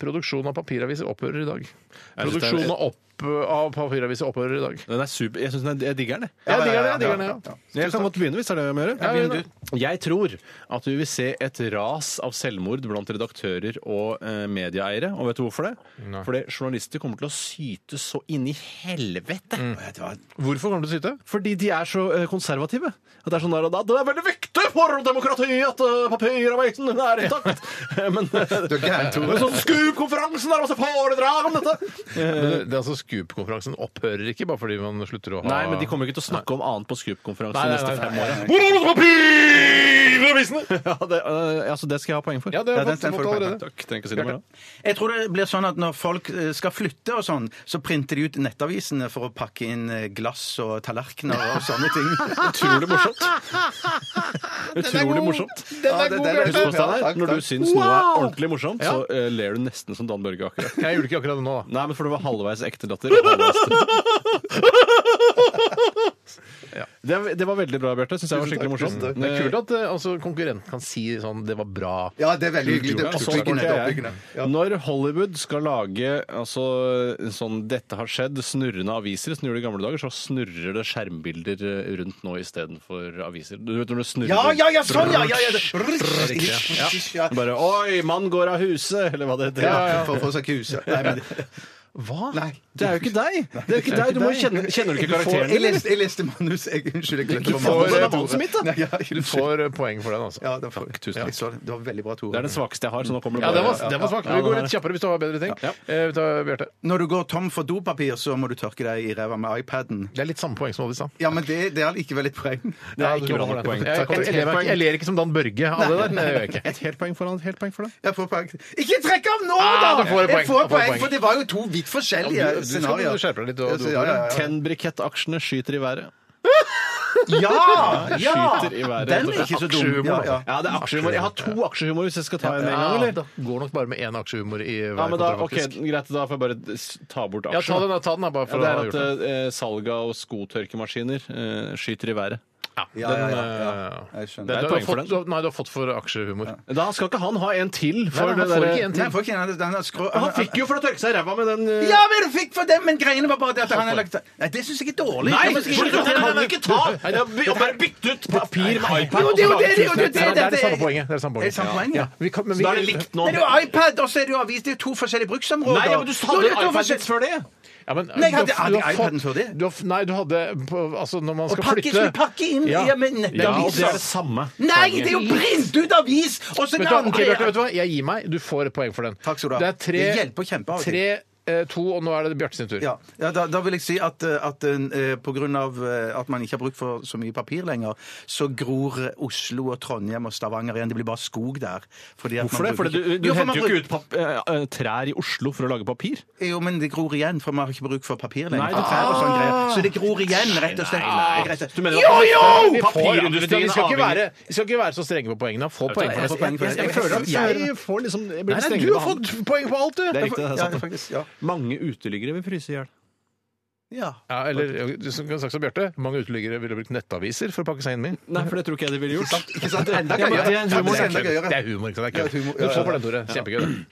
Produksjon av papiraviser opphører i dag. synes det er- Produksjon av opp... opp av papiraviser opphører i dag. Den er super. Jeg, synes den er, jeg digger den, jeg. Jeg digger den, jeg digger den, ja. Jeg kan godt begynne, hvis det er det jeg må gjøre. Ja, begynn du. Jeg tror at vi vil se et ras av selvmord blant redaktører og eh, medieeiere. Og vet du hvorfor det? Nei. Fordi journalister kommer til å syte så inn i helvete. Hvorfor kommer du til å syte? Fordi de er så eh, konservative. At det er sånn der og da. Det er veldig viktig for demokrati at eh, papiravisen er intakt! Eh, Men Du er gæren, Tore. Men sånn Scoop-konferansen er masse foredrag om dette! Men det, det er altså Scoop-konferansen opphører ikke bare fordi man slutter å ha Nei, men de kommer ikke til å snakke om annet på Scoop-konferansen de Nei, nei, neste nei, fem nei, åra. Hvor er alle papiravisene?! Ja, det, øh, altså, det skal jeg ha poeng for. Ja, det har jeg fått den får fått du på. allerede. Takk, trenger ikke si det mer da. Jeg tror det blir sånn at når folk eh, skal flytte og sånn, så printer de ut nettavisene for å pakke inn eh, glass og tallerkener og sånne ting. Utrolig morsomt. Utrolig morsomt. Den Ja, er det- god, det er Husk på, Bjarte! Steinar, takk, når du takk. syns noe er Wow! ordentlig morsomt, så øh, ler du nesten som Dan Børge akkurat. Jeg gjorde ikke akkurat det nå, da. Nei, men for du var halvveis ekte datter. og halvveis- Ja. Det, det var veldig bra, Bjarte. Syns jeg var skikkelig morsomt. Det er kult at eh, altså, konkurrenten kan si sånn 'det var bra'. Ja, det er veldig hyggelig. Det Ja, er sånn oppbyggende. tenker Det er jeg. oppbyggende. Ja. Når Hollywood skal lage altså, en sånn 'dette har skjedd', snurrende aviser, som de gjorde i gamle dager, så snurrer det skjermbilder eh, rundt nå istedenfor aviser. Du vet når det snurrer Ja, ja, ja, sånn, ja! ja, ja. det- Ja. Ja. Bare 'oi, mann går av huset', eller hva det heter. For å få seg kuse. Nei, men Hva? Nei. Det er jo ikke deg! Det er jo ikke deg. Du må jo kjenne, kjenner du ikke Jeg karakteren din? leste, jeg leste manus. Jeg, unnskyld, jeg glemte Du på får, manus. eh, manuset mitt, da. Nei, ja, Du får eh, poeng for den, altså. ja, det får jeg. tusen takk. Jeg så det. Det var veldig bra, Tore. Det er den svakeste jeg har, så nå kommer det Ja, bare den var, den var svak. Vi går litt kjappere hvis du har bedre ting. Ja. Eh, vi tar Bjarte. Når du går tom for dopapir, så må du tørke deg i ræva med iPaden. Det er litt samme poeng som Oddis, da. Ja, men det, det er likevel et poeng. Det er ikke bra nok poeng. Jeg, jeg, jeg, lever ikke- jeg ler ikke som Dan Børge av det der. Det gjør jeg ikke. Et helt poeng foran, et helt poeng foran. Jeg får poeng. Ikke trekk av nå, da! Ah, da får jeg poeng. Jeg får Da får jeg poeng, poeng. For det var jo to vidt Ja, forskjellige du- du skal- scenarioer. du skjerper deg litt, og Ja, du- så- ja, ja, ja. Tenn-brikettaksjene skyter i været. Ja! Skyter i været. Den rett og er slett. altså. ikke så dum. Aksjehumor, Ja, da. ja. Ja, det er aksjehumor. Jeg har to aksjehumor hvis jeg skal ta en med en gang, Ja, eller? det går nok bare med én aksjehumor i hver Ja, men da, kontrakt, ok, faktisk. Greit, da får jeg bare s- ta bort Ja, ta den, aksjen. da, ta den da, bare Ja, for å det er ha at gjort det. eh, salget av skotørkemaskiner eh, skyter i været. Ja, ja, ja, ja. Den, eh, Jeg skjønner. den, er du har poeng for fått, den. nei, du har fått for aksjehumor. Da skal ikke han ha en til. Nei, nei, han For det får derre- ikke en til. Nei, får ikke den, den er skrå... Han fikk jo for å tørke seg i ræva med den eh, Ja, men du fikk for den, men greiene var bare det at han hadde lagt Nei, det syns jeg er dårlig. Nei! Ja, men- Du kan ikke ta Det er by- Bare bytte ut papir med iPad. Jo, og det er jo så det, det er jo lage tusen det, det Ja, er det det, er det samme poenget. Det er det samme Er det poenget. samme poeng, ja? Vi kan, men Så vi, da er det likt nå. Nei, det er jo iPad, og så er det jo avis. Det er jo to forskjellige bruksområder. Nei, ja, men du Jo, hadde det jo er to iPad forskjell- litt før det. ja, men, Nei, hadde- du har- hadde du har jeg iPaden fått- før det? Du har, f- nei, du hadde på, Altså, når man Og skal pakke, flytte skal vi pakke inn Ja. ja. Ja, med og det nettaviser? er det samme. Nei, det er jo print ut avis! Og så Vet den du, hva, ok, andre Bjarte, vet du hva? Jeg gir meg. Du får et poeng for den. Takk skal du ha. Det er tre, Det hjelper kjempe av og til. tre eh, to, og nå er det Bjarte sin tur. Ja, ja da, da vil jeg si at, eh, at eh, på grunn av eh, at man ikke har bruk for så mye papir lenger, så gror Oslo og Trondheim og Stavanger igjen. Det blir bare skog der. Fordi at Hvorfor det? man Fordi bruker du, ikke- du Jo, for man henter jo ikke bruker- ut pap eh, eh, trær i Oslo for å lage papir. Jo, men det gror igjen, for man har ikke bruk for papir lenger. Nei, det- for trær og sånne greier. Så det gror igjen, rett og slett. Rett og slett. Du mener at- jo, Vi, får, jo! ja, vi, skal, Papirindustrien vi, skal ikke avhenger- være, vi skal ikke være så strenge på poengene. Få poeng for det. poeng for det. Jeg føler at jeg får liksom jeg blir Nei, nei, strengere du har behandlet. fått poeng på alt, Det du! er riktig, det er Ja, sant. faktisk. Ja. Mange uteliggere vil fryse i hjel. ja. Ja, eller du som kan sagt som Bjarte, mange uteliggere ville brukt nettaviser for å pakke seg inn med. Nei, for det tror ikke jeg de ville gjort. Ikke sant? Enda Ja, men det gøyere. er en Ja, humor, det er enda Det gøyere. er humor, ikke sant? Det Ja, er kødd. humor. Du Ja, ja, får den, Tore. Kjempegøy. det.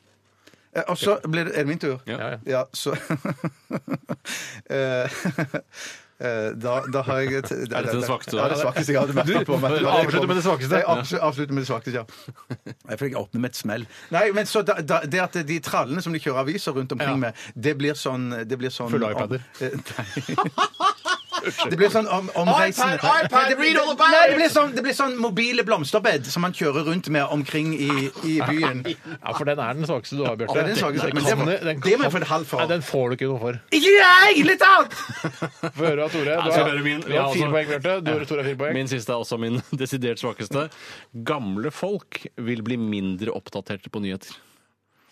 Eh, Og så blir det Er det min tur? Ja. Ja, så Eh, eh, da, da har jeg et, Er dette den svakeste du Ja, har? det svakeste jeg hadde merket på meg. Du avslutter med det svakeste? Jeg abs- avslutter med det svakeste, ja. Jeg fikk åpne med et smell. Nei, men så da, da, Det at de trallene som de kjører aviser rundt omkring Ja. med, det blir sånn, det blir sånn Fulle iPader. Eh, Nei. Det blir sånn om, omreisende iPad, Nei, det blir- read all about Nei, it! det blir sånn, det blir sånn mobile blomsterbed som man kjører rundt med omkring i, i byen. Ja, for den er den svakeste du har, Bjarte. Ja, det er den svakeste, men det må- den det må jeg få et halvt for. Nei, den får du ikke noe for. Ikke jeg! Litt annet! Få høre av Tore. Du jeg skal har, høre min. vi har Ja, fire altså- poeng, Bjarte. Du og Tore har fire poeng. Min siste er også min desidert svakeste. Gamle folk vil bli mindre oppdaterte på nyheter.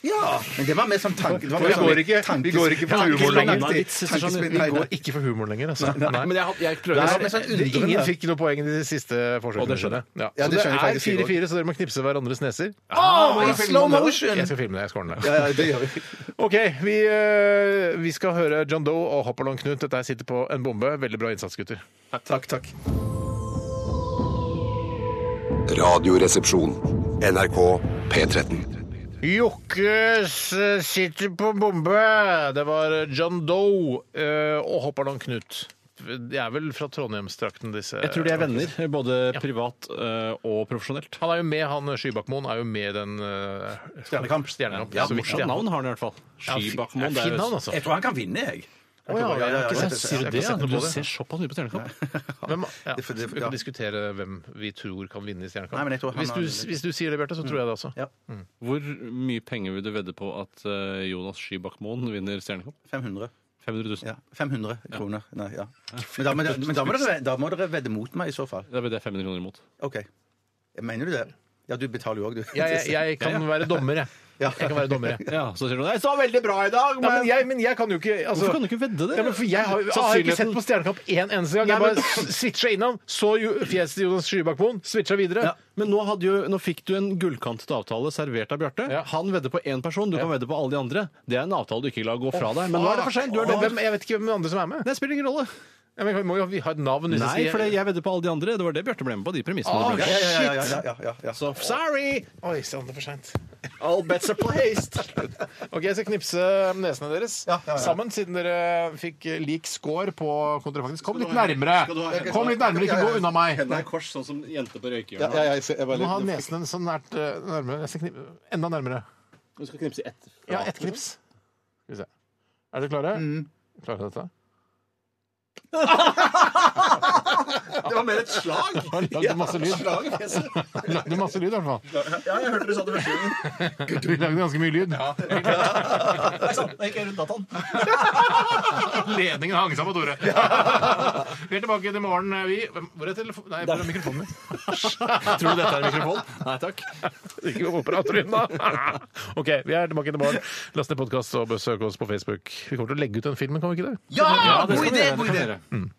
Ja, men det var mer som tanke... det var For mer vi som går ikke, vi tankes- går ikke for tankespill. humor lenger. Nei, Vits, sister, sånn. tankespill. Vi Nei, går nei. ikke for humor lenger, altså. Nei. Men jeg, jeg Det prøver er, men sånn det, undrende. ingen fikk noe poeng i de siste forsøkene. Og det skjønner jeg. Ja. så Ja, det skjønner det jeg er faktisk jeg 4-4, så dere må knipse hverandres neser. Åh, i slow motion! Jeg skal filme det. jeg skal ordne det. Ja, ja, det gjør vi. OK, vi, eh, vi skal høre John Doe og Hoppalong Knut. Dette her sitter på en bombe. Veldig bra innsats, gutter. Takk, takk. Radioresepsjon. NRK P13. Jokkes eh, sitter på bombe. Det var John Doe eh, og Hopperland Knut. De er vel fra Trondheimsdrakten, disse? Jeg tror de er venner, både privat eh, og profesjonelt. Han er jo med, han Skybakmoen er jo med i den eh, Stjernekamp. Stjernekamp. Ja, så vidt Morsomt jeg- navn har han i hvert fall. Ja, fi- Skibakmoen. ja, det er Fin jo- navn, altså. Jeg tror han kan vinne, jeg. Å, ja, ja, ja, ja, Jeg ja. Sier du tror- Jeg har ikke det? sett noe Når på du det. ser såpass mye på Stjernekamp. Hvem, ja. Det- for det- Vi ja. kan diskutere hvem vi tror kan vinne i Stjernekamp. Nei, men jeg tror han hvis, du, har- Mm. hvis du sier det, Bjarte, så tror jeg det også. Ja. Hvor mye penger vil du vedde på at eh, Jonas Skibakmoen vinner Stjernekamp? 500. 500 000. Ja. 500 kroner. Nei, ja. Men, da, men, da, men da, må dere, da må dere vedde mot meg, i så fall. Da blir det 500 kroner imot. OK. Mener du det? Ja, du betaler jo òg, du. Jeg, jeg, jeg kan være dommer, jeg. Ja. Jeg kan være dommer, jeg. Ja, så sier du 'jeg så veldig bra i dag', Ja, men men, jeg, men jeg kan jo ikke altså, Hvorfor kan du ikke vedde det? Ja, men for jeg har, jeg har ikke sett på Stjernekamp én eneste gang. Jeg Nei, men- bare s- switcha innom, så jo- fjeset til Jonas Skybakmoen, switcha videre. Ja, men nå, hadde jo, nå fikk du en gullkantet avtale servert av Bjarte. Ja. Han vedder på én person, du kan vedde på alle de andre. Det er en avtale du ikke lar gå fra deg. Men nå er det for seint. Du er Men dømt. hvem, jeg vet ikke hvem andre som er med. Det spiller ingen rolle. Ja, men vi må jo vi ha et navn. hvis jeg Nei, sier- for det- jeg vedder på alle de andre. Det var det Bjarte ble med på. de premissene Ah, han ble med på. Ja, ja, ja, ja, ja, ja, ja. Så sorry! Oi sann, det er for seint. All bets are placed. Ok, Jeg skal knipse nesene deres sammen, siden dere fikk lik score på kontrafaktisk. Kom litt nærmere! Kom litt nærmere, ikke gå unna meg! Hendene er kors, sånn som jenter på røykehjørnet. Ja, jeg, jeg var Du må ha nesene så nært eh, nærmere. Jeg skal knip- enda nærmere. Du skal knipse ett. Ja, Mm. ett knips. Skal vi se. Er dere klare? Klarer dere dette? Det var mer et slag. Lagde masse lyd. Lagde masse lyd, i hvert fall. Ja, jeg hørte du sa det første gang. Vi lagde ganske mye lyd. sånn, gikk rundt dataen. Ledningen hang sammen, Tore. Vi er tilbake til morgen, vi. Hvor er telefonen? Nei, hvor er mikrofonen min? Tror du dette er en mikrofon? Nei takk. Ikke operatoryen, da. OK, vi er tilbake til morgen. Last ned podkast og besøk oss på Facebook. Vi kommer til å legge ut den filmen, kan vi ikke det? Ja! det God skal vi idé! gjøre, God det idé! skal vi gjøre.